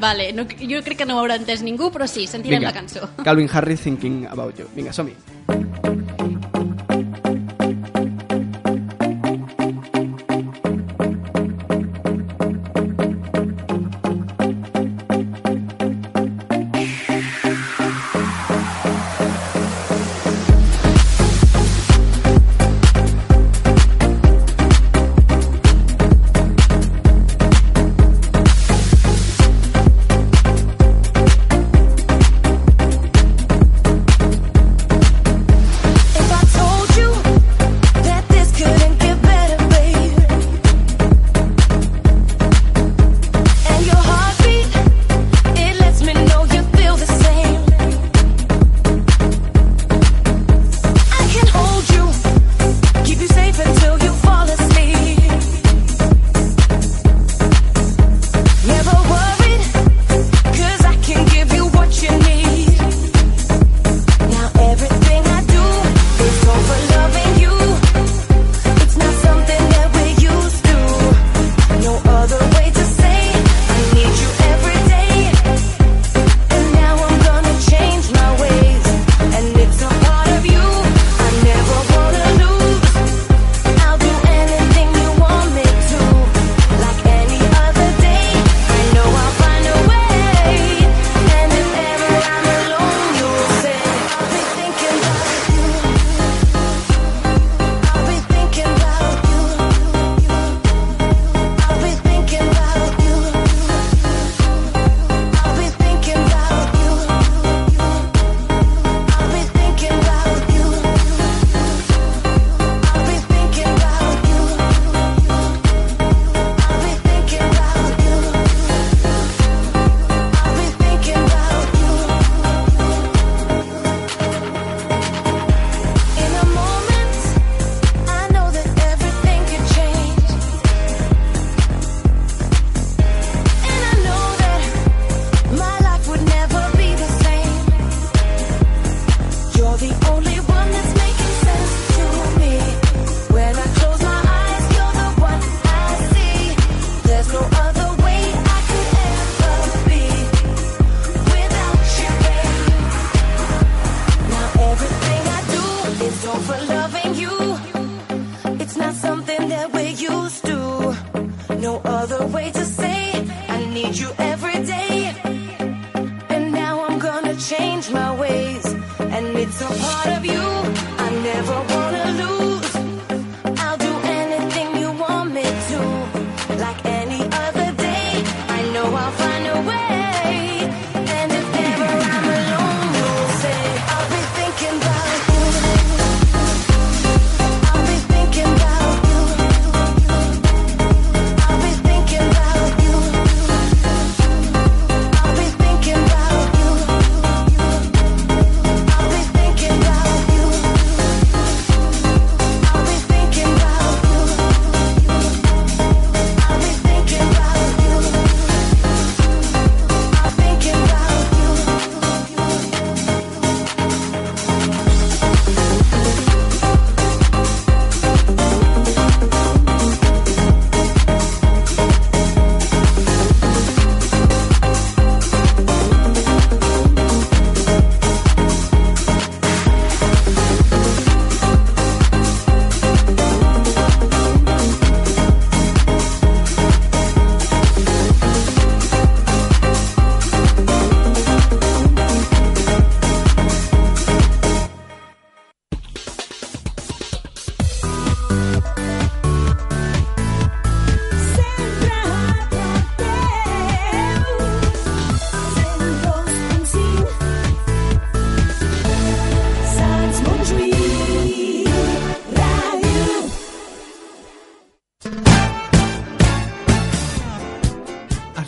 Vale, no, jo crec que no ho haurà entès ningú, però sí, sentirem
Vinga.
la cançó.
Calvin Harris, Thinking About You. Vinga, som-hi.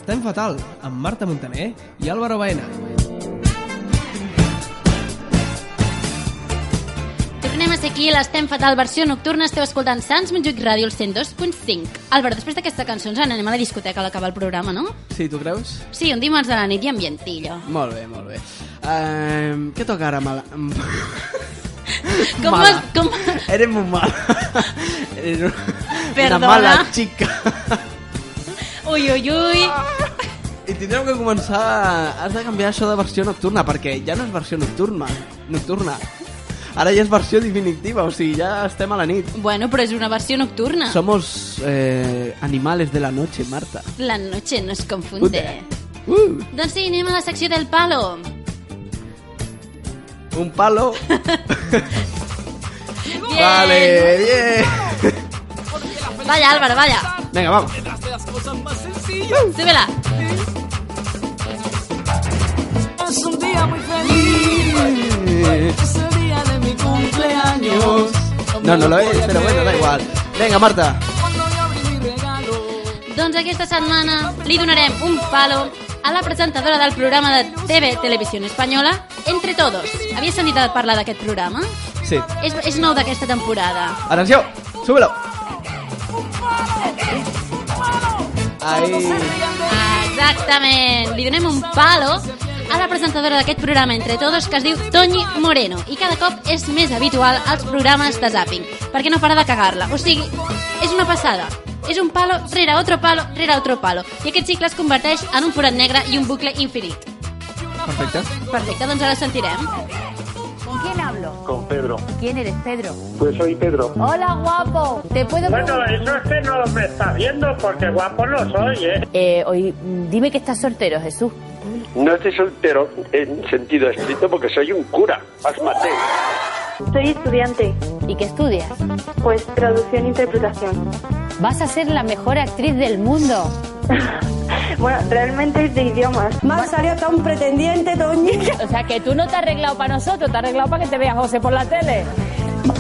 Estem fatal amb Marta Montaner i Álvaro Baena.
Tornem a ser aquí, l'estem fatal, versió nocturna. Esteu escoltant Sants Montjuïc Ràdio, el 102.5. Albert, després d'aquesta cançó ens anem a la discoteca a l'acabar el programa, no?
Sí, tu creus?
Sí, un dimarts a la nit i ambientillo.
Molt bé, molt bé. Um, què toca ara? Mala...
Com
mala.
vas- com...
Eres molt mala. Eres una, una
Perdona.
mala xica.
Ui, ui, ui.
I tindrem que començar... Has de canviar això de versió nocturna, perquè ja no és versió nocturna. Nocturna. Ara ja és versió definitiva, o sigui, ja estem a la nit.
Bueno, però és una versió nocturna.
Somos eh, animales de la noche, Marta.
La noche nos confunde.
Uh,
Doncs sí, anem a la secció del palo.
un palo.
Bien.
Vale, bien.
Vaya, Álvaro, vaya.
Venga, vamos.
Súbela.
Es un día muy feliz. Es el día de mi cumpleaños.
No, no lo es, pero bueno, da igual. Venga, Marta.
Doncs aquesta setmana li donarem un palo a la presentadora del programa de TV Televisió Espanyola, Entre Todos. Havies sentit a parlar d'aquest programa?
Sí.
És, és nou d'aquesta temporada.
Atenció, súbelo. Ahí.
Exactament. Li donem un palo a la presentadora d'aquest programa Entre Todos que es diu Toñi Moreno i cada cop és més habitual als programes de zapping perquè no para de cagar-la. O sigui, és una passada. És un palo rere otro palo rere otro palo i aquest cicle es converteix en un forat negre i un bucle infinit.
Perfecte.
Perfecte, doncs ara sentirem.
¿Con quién hablo?
Con Pedro.
¿Quién eres, Pedro?
Pues soy Pedro.
Hola, guapo. ¿Te puedo
Bueno,
preguntar?
eso es que no me está viendo porque guapo no soy, ¿eh?
Eh, hoy, mm, dime que estás soltero, Jesús.
No estoy soltero en sentido estricto porque soy un cura. Asmate.
Soy estudiante. ¿Y qué estudias? Pues traducción e interpretación. ¿Vas a ser la mejor actriz del mundo? bueno, realmente es de idiomas. Más salió tan pretendiente, Toñi. O sea, que tú no te has arreglado para nosotros, te has arreglado para que te vea José por la tele.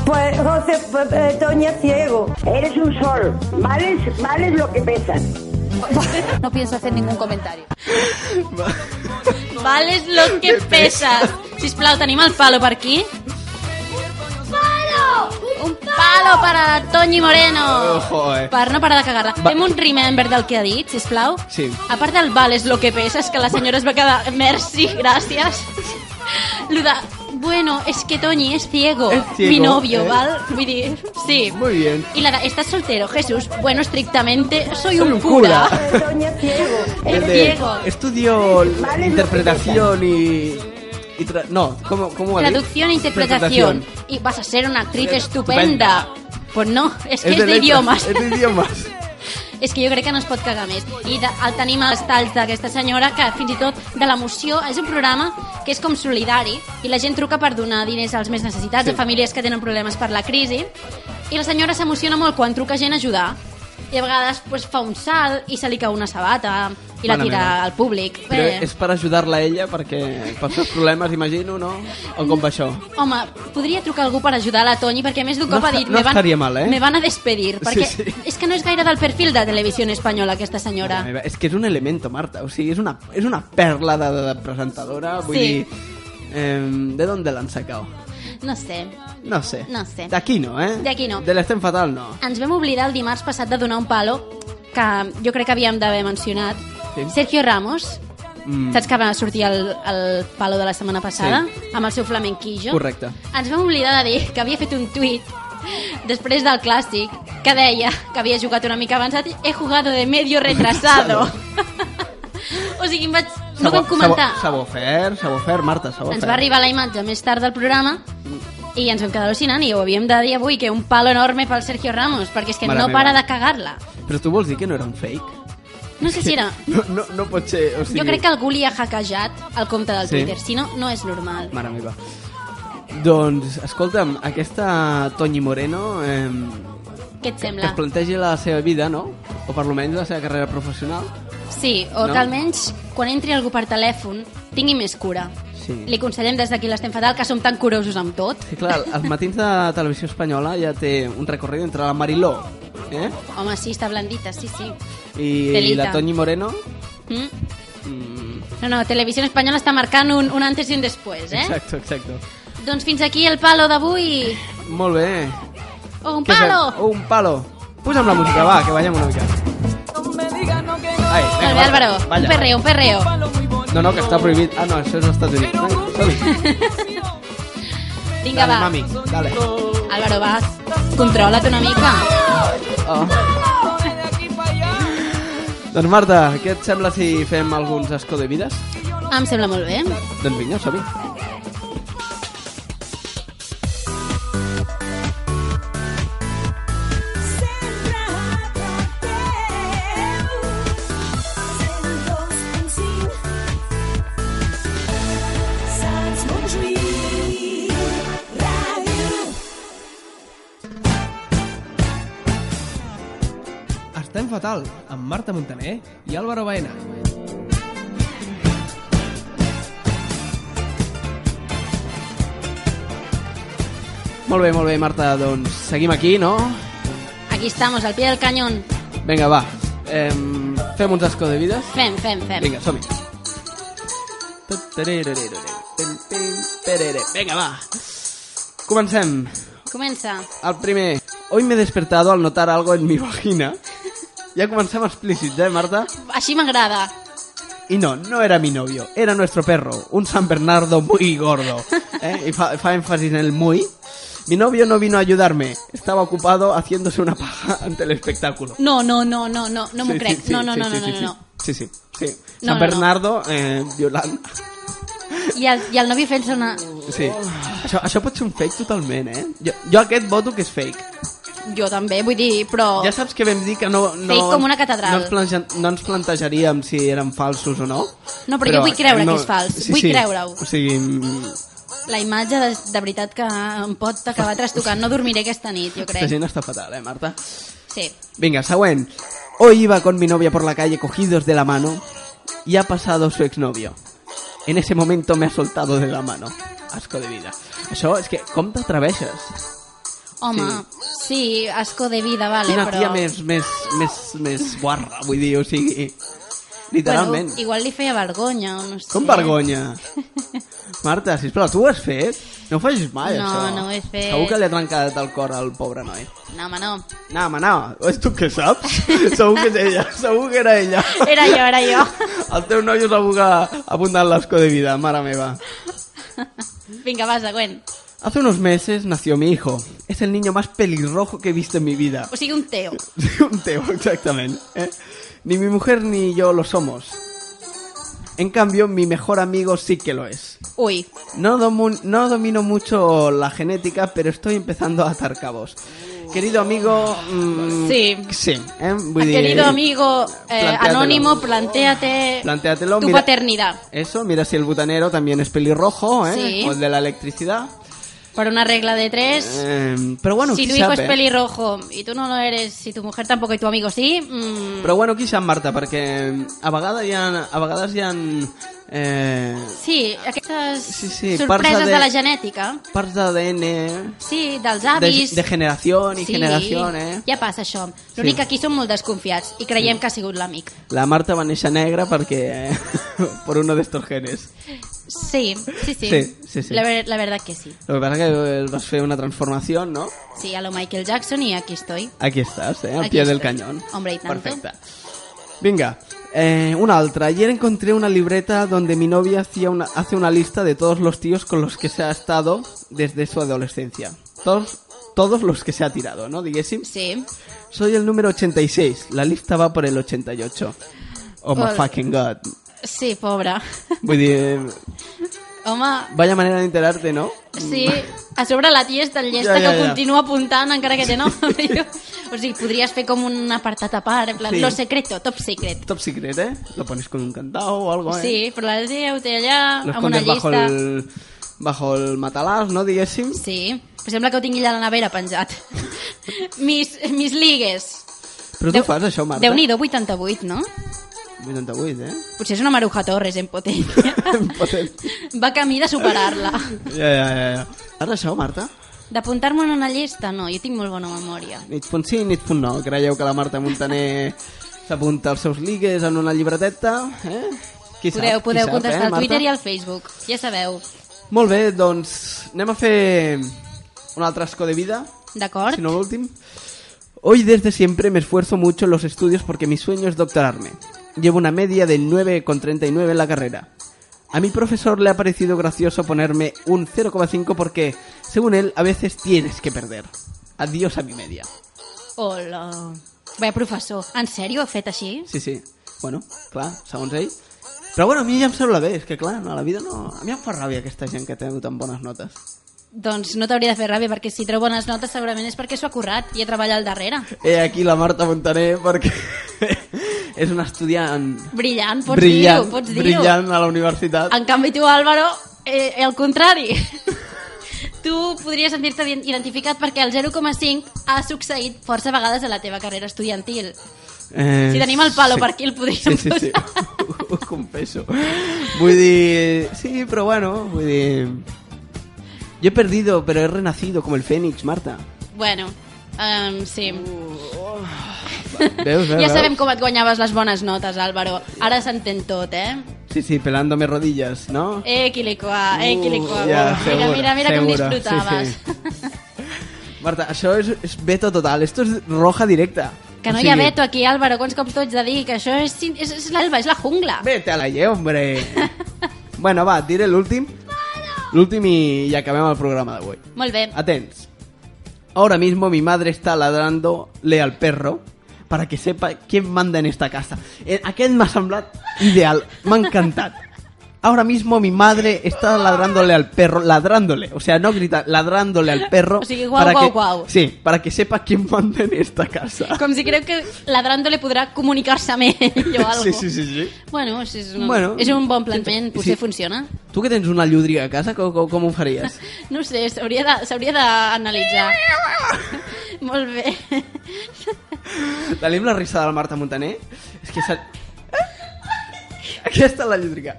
Pues José, pues, eh, Toña es ciego. Eres un sol. Mal es, mal es lo que pesas.
No pienso hacer ningún comentario.
Vales lo que pesa. Sisplau, tenim el palo per aquí. Palo! Un palo per a Toñi Moreno.
Ojo, eh.
Per no parar de cagar-la.
Va.
Fem un remember del que ha dit, sisplau.
Sí.
A part del vales lo que pesa, és que la senyora es va quedar... Merci, gràcies. Lo de... Bueno, es que Toñi es ciego.
Es ciego,
Mi novio,
eh.
¿val? Vull dir, sí.
Muy bien.
Y la de, ¿estás soltero, Jesús? Bueno, estrictamente, soy, un,
cura.
cura.
Toña Eh, es ciego.
Es
El de
ciego.
estudio interpretación y... y tra- no, ¿cómo, cómo va a decir?
Traducción e interpretación. Y vas a ser una actriz
Estupenda.
estupenda. Pues no, és que és,
letras,
d'idiomes.
Es de idiomas.
És que jo crec que no es pot cagar més. I de, el tenim als talls d'aquesta senyora, que fins i tot de l'emoció, és un programa que és com solidari, i la gent truca per donar diners als més necessitats,
Sí.
a famílies que tenen problemes per la crisi, i la senyora s'emociona molt quan truca gent a ajudar, i a vegades pues, fa un salt i se li cau una sabata i la
Mare
tira
meva.
al públic.
Però
Eh,
és per ajudar-la a ella perquè pels seus problemes, imagino, no? O com va això?
Home, podria trucar algú per ajudar la Toni, perquè més d'un
No
cop ha
esta-
dit...
no
me van,
estaria mal, eh?"
Me van a despedir,
Sí,
perquè
sí.
és que no és gaire del perfil de televisió espanyola, aquesta senyora.
Meva, És que és un elemento, Marta. O sigui, és una, és una perla de, de presentadora. Vull
Sí.
dir... Eh, ¿De dónde l'han sacado?
No sé.
No sé.
No sé.
D'aquí no, eh?
D'aquí no.
De l'estem fatal, no.
Ens vam oblidar el dimarts passat de donar un palo que jo crec que havíem d'haver mencionat.
Sí.
Sergio Ramos,
Mm.
saps que va sortir el, el palo de la setmana passada? Amb el seu flamenquillo.
Correcte.
Ens vam oblidar de dir que havia fet un tuit després del clàssic que deia que havia jugat una mica avançat he jugado de medio retrasado. o sigui, em vaig... no vam comentar.
S'ha bo fer, s'ha bo fer, Marta, s'ha bo
Ens
fer.
va arribar la imatge més tard del programa i ens vam quedar al·lucinant i ho havíem de dir avui, que un palo enorme pel Sergio Ramos, perquè és que
Mare
no
meva.
para de cagar-la.
Però tu vols dir que no era un fake?
No sé si era...
No, no, no pot ser, o sigui...
Jo crec que algú li ha hackejat el compte del
Sí.
Twitter, si no, no és normal.
Mare meva. Doncs, escolta'm, aquesta Toñi Moreno eh,
Què et
que
sembla?
es plantegi la seva vida, no? O per almenys la seva carrera professional.
Sí, o
No?
que almenys quan entri algú per telèfon tingui més cura.
Sí.
Li aconsellem des d'aquí l'estem fatal, que som tan curosos amb tot.
Sí, clar, els matins de televisió espanyola ja té un recorrido entre la Mariló eh?
Home, sí, està blandita, sí, sí.
i
Telita.
la Toñi Moreno Mm,
No, no, Televisió Espanyola està marcant un, un antes i un després, eh?
Exacto, exacto.
Doncs fins aquí el palo d'avui.
Molt bé.
Oh, un
Què fem?
palo!
Oh, un palo. Posa'm la música, va, que ballem una mica. Ai,
Molt bé,
va,
Álvaro.
balla.
Un perreo, un perreo.
No, no, que està prohibit. Ah, no, això és als Estats Units. Vinga, som-hi.
Vinga,
Dale,
va.
mami, dale.
Álvaro, vas. Controla't una mica.
Oh. Doncs Marta, què et sembla si fem alguns escó de vides?
Ah, em sembla molt bé.
Doncs vinga, som-hi.
Estem fatal amb Marta Montaner i Álvaro Baena.
Molt bé, molt bé, Marta, doncs seguim aquí, no?
Aquí estamos, al pie del cañón.
Vinga, va, eh, fem uns escó de vides.
Fem, fem, fem.
Vinga, som-hi. Vinga, va. Comencem.
Comença.
El primer. Hoy me he despertado al notar algo en mi vagina. Ja comencem explícits, eh, Marta?
Així m'agrada.
Y no, no era mi novio, era nuestro perro, un San Bernardo muy gordo. ¿eh? Y fa, fa énfasis en el muy. Mi novio no vino a ayudarme, estaba ocupado haciéndose una paja ante el espectáculo.
No, no, no, no, no, no m'ho
Sí,
crec.
sí, sí,
no, no,
sí,
no, no,
sí,
no,
sí,
no, no.
Sí, sí, sí.
No,
San
no, no.
Bernardo eh, violant.
I el, i el novio fent-se una...
Sí. Això, això pot ser un fake totalment, eh? Jo, jo aquest voto que és fake.
Jo també, vull dir, però...
Ja saps que vam dir que no... no
Oh. Fake com una catedral.
No ens, plante, no ens plantejaríem si eren falsos o no. eh,
No, però jo vull creure que és fals. Vull creure-ho.
O sigui, mm,
La imatge de, de veritat que em pot acabar trastocant. No dormiré aquesta nit, jo
Esta
crec.
gent està fatal, eh, Marta?
Sí.
Venga, Sawen. Hoy iba con mi novia por la calle cogidos de la mano y ha pasado su exnovio. En ese momento me ha soltado de la mano. Asco de vida. Això és que com t'atreveixes?
Home, sí, asco de vida, vale,
Una
però...
tia més, més, més, més guarra, vull dir, o sigui... Literalment.
Bueno, igual li feia vergonya, o no sé.
Com vergonya. Marta, sisplau, tu ho has fet? No ho facis mai,
No,
això.
no ho he fet.
Segur que li ha trencat el cor al pobre noi.
No, home, no.
No, home, no. És tu que saps? Segur que és ella. Segur que era ella.
Era jo, era jo.
El teu noi us aboga abundant l'asco de vida, mare meva.
Vinga, va, següent.
Hace unos meses nació mi hijo. Es el niño más pelirrojo que he visto en mi vida.
O sigui, un teo.
Un teo, exactamente. ¿eh? Ni mi mujer ni yo lo somos. En cambio, mi mejor amigo sí que lo es.
Ui,
No, domu- no domino mucho la genética, pero estoy empezando a atar cabos. Querido amigo... mm,
Sí.
Sí. ¿eh? Vull dir-
querido amigo eh,
Plantéatelo.
anónimo, plantéate
Plantéatelo,
tu
mira-
paternidad.
Eso, mira si el butanero también es pelirrojo, ¿eh?
Sí.
O el de la electricidad.
Por una regla de tres,
Eh, pero bueno,
si tu
quizá,
hijo es
eh?
pelirrojo y tú no lo eres, si tu mujer tampoco y tu amigo sí, mm,
Però bueno, quizá, Marta, em, perquè a vegades hi ha... A vegades hi ha eh,
sí, aquestes
sí,
sorpreses
parts
de...
de-
la genètica,
parts d'ADN...
sí, dels
De,
avis...
de generació i
sí,
generació, eh?
Ja passa això. L'únic
Sí.
que aquí som molt desconfiats i creiem que ha sigut l'amic.
La Marta va néixer negra perquè... por uno de estos genes.
Sí, sí, sí.
Sí, sí, sí.
La, ver- la verdad que sí.
Lo que pasa que eh, vas fer una transformació, no?
Sí, a lo Michael Jackson y aquí estoy.
Aquí estàs, eh? Al
Aquí
pie del
estoy.
cañón.
Hombre, y tanto.
Perfecta. Venga, eh, una otra. Ayer encontré una libreta donde mi novia hacía una, hace una lista de todos los tíos con los que se ha estado desde su adolescencia. Todos, todos los que se ha tirado, ¿no? Diguéssim.
Sí.
Soy el número 86. La lista va por el 88. Oh my
Ol-
fucking god.
Sí, pobra.
Vull dir,
Home,
vaya manera de enterarte, ¿no?
sí, a sobre la tia és tan llesta
Ja, ja,
que
ja.
continua apuntant encara que té nom. Però, o sigui, podries fer com un apartat a part, en plan,
Sí.
lo secreto, top secret.
Top secret, ¿eh? Lo pones con un candado o algo, ¿eh?
Sí, però la tia ho té allà,
Lo
amb una
escondes bajo
llista.
el, bajo el matalàs, no, diguéssim?
Sí, però sembla que ho tingui allà a la nevera penjat. mis, mis ligues.
Però tu
Déu-
fas això, Marta?
Déu-n'hi-do, 88, no?
88, eh?
Potser és una Maruja Torres en potència. Va camí de superar-la.
Ja, ja, ja. ja. Fas això, Marta?
D'apuntar-me en una llista? No, jo tinc molt bona memòria.
Nits punt sí, nits punt no. Creieu que la Marta Montaner S'apunta els seus ligues en una llibreteta, eh? Qui sap,
Podeu,
qui
podeu
sap,
contestar
eh,
al
Marta?
Twitter i al Facebook, ja sabeu.
Molt bé, doncs anem a fer un altre escó de vida.
D'acord.
Si no l'últim. Hoy desde siempre me esfuerzo mucho en los estudios porque mi sueño es doctorarme. Llevo una media del 9,39 en la carrera. A mi profesor le ha parecido gracioso ponerme un 0,5 porque, según él, a veces tienes que perder. Adiós a mi media.
Hola. Bé, professor, en sèrio ha fet així?
Sí, sí. Bueno, clar, segons ell. Però bueno, a mi ja em sembla bé, és que clar, a la vida no... A mi em fa ràbia aquesta gent que té tan bones notes.
Doncs no t'hauria de fer ràbia, perquè si treu bones notes segurament és perquè s'ho ha currat i ha treballat al darrere.
He aquí la Marta Montaner perquè és una estudiant
Brillant, pots
brillant,
dir-ho, pots dir-ho.
brillant a la universitat.
En canvi tu, Álvaro, eh, el contrari. tu podries sentir-te ident- identificat perquè el 0,5 ha succeït força vegades a la teva carrera estudiantil.
Eh,
Si tenim el palo per aquí, el
sí,
podríem
sí, sí. posar. Ho confesso. Vull dir... Sí, però bueno, vull dir... Yo he perdido, pero he renacido como el Fénix, Marta.
Bueno, um, sí.
Veus, veus,
ja sabem
veus?
com et guanyaves les bones notes, Álvaro. Ara s'entén tot, eh?
Sí, sí, pelándome rodillas, ¿no?
Eh, quilicua, eh, quilicua.
Uh, ja,
Bueno,
segura,
mira, mira, mira com
segura,
disfrutaves.
sí, Marta, això és, és veto total. Esto es roja directa.
Que no
O
hi ha
sigui,
veto aquí, Álvaro, quants cops t'ho haig de dir, que això és, cin- és, és l'alba, és la jungla.
Vete a la ye, hombre. bueno, va, diré l'últim. L'últim i, i acabem el programa d'avui.
Molt bé.
Atents. Ahora mismo mi madre está ladrándole al perro para que sepa quién manda en esta casa. Eh, Aquest m'ha semblat ideal, m'ha encantat. Ahora mismo mi madre está ladrándole al perro, ladrándole, o sea, no grita, ladrándole al perro.
O sigui, guau,
para
guau,
que,
guau.
Sí, para que sepa quién manda en esta casa.
Com si creu que ladrando le podrà comunicar-se amb ell o alguna
Sí, sí, sí, sí.
Bueno, si és, un,
Bueno.
és un bon plantament, potser
Sí.
funciona.
Tu que tens una llúdriga a casa, com, com, com ho faries?
No ho sé, s'hauria de- s'hauria d'analitzar. Molt bé.
Tenim la risa de la Marta Montaner? És que... Se... Aquesta és la llúdriga.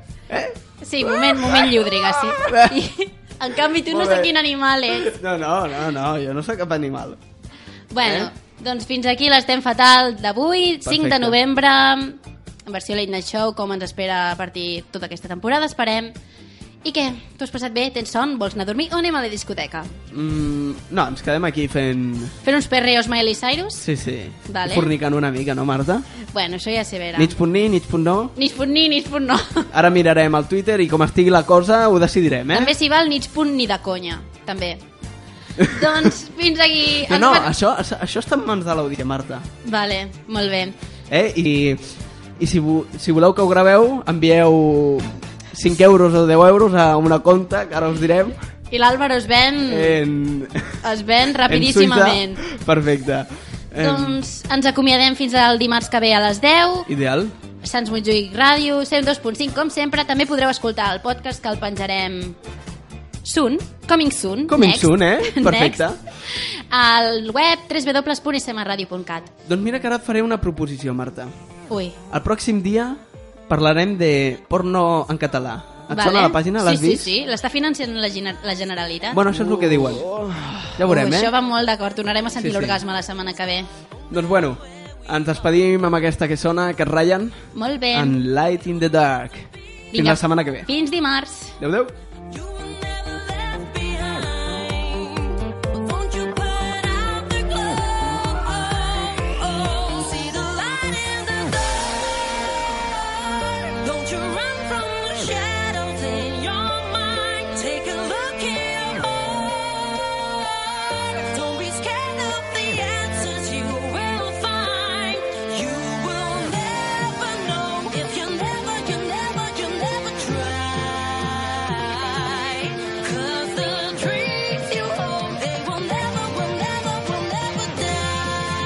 Sí, moment, moment lliudriga, sí. I, en canvi, tu no
Molt
sé
bé.
quin animal ets.
No, no, no, no, jo no sóc cap animal.
Bueno, doncs fins aquí l'estem fatal d'avui, 5
Eh? Perfecte.
de novembre, en versió Late Night Show, com ens espera a partir tota aquesta temporada, esperem. I què? T'ho has passat bé? Tens son? Vols anar a dormir? O anem a la discoteca?
Mm, no, ens quedem aquí fent...
Fer uns perreos Miley Cyrus?
Sí, sí.
Vale.
Fornicant una mica, no, Marta?
Bueno, això ja se verà.
Mig punt Eh? ni, mig punt no.
Nits punt ni, nits punt no.
Ara mirarem el Twitter i com estigui la cosa ho decidirem, eh?
També s'hi val nits punt ni de conya, també. doncs fins aquí.
No,
Ens
no,
va-
això, això- això està en mans de l'àudio, Marta.
Vale, molt bé.
Eh? I, i si, vo- si voleu que ho graveu, envieu 5 euros o 10 euros a una compta, que ara us direm,
I l'Àlvaro es ven,
Eh, en,
es ven
en
Mm. rapidíssimament.
Suïssa. Perfecte. Em,
Doncs ens acomiadem fins al dimarts que ve a les 10.
Ideal.
Sants Montjuïc Ràdio, 102.5, com sempre. També podreu escoltar el podcast que el penjarem soon, coming soon,
Coming
next.
soon, eh? Perfecte.
Next, al web www.smradio.cat.
Doncs mira que ara et faré una proposició, Marta.
Ui,
El pròxim dia parlarem de porno en català. Et
vale.
sona la pàgina? L'has
sí,
vist?
Sí, sí, l'està financiant la, Gene- la Generalitat.
Bueno, això és el que diuen. Ja veurem,
Oh. Ui,
eh?
Això va molt d'acord, tornarem a sentir
Sí,
sí,
sí.
l'orgasme la setmana que ve.
Doncs bueno, ens despedim amb aquesta que sona, que ratllen,
Molt bé.
en Light in the Dark. Fins
Vinga.
la setmana que ve.
Fins dimarts.
Adéu, adéu.
Don't you run from the shadows in your mind. Take a look here. Don't be scared of the answers you will find. You will never know if you never, you never, you never try. Oh,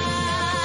Oh,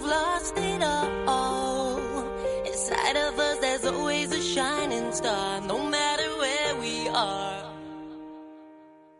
lost it all. Inside of us, there's always a shining star. No matter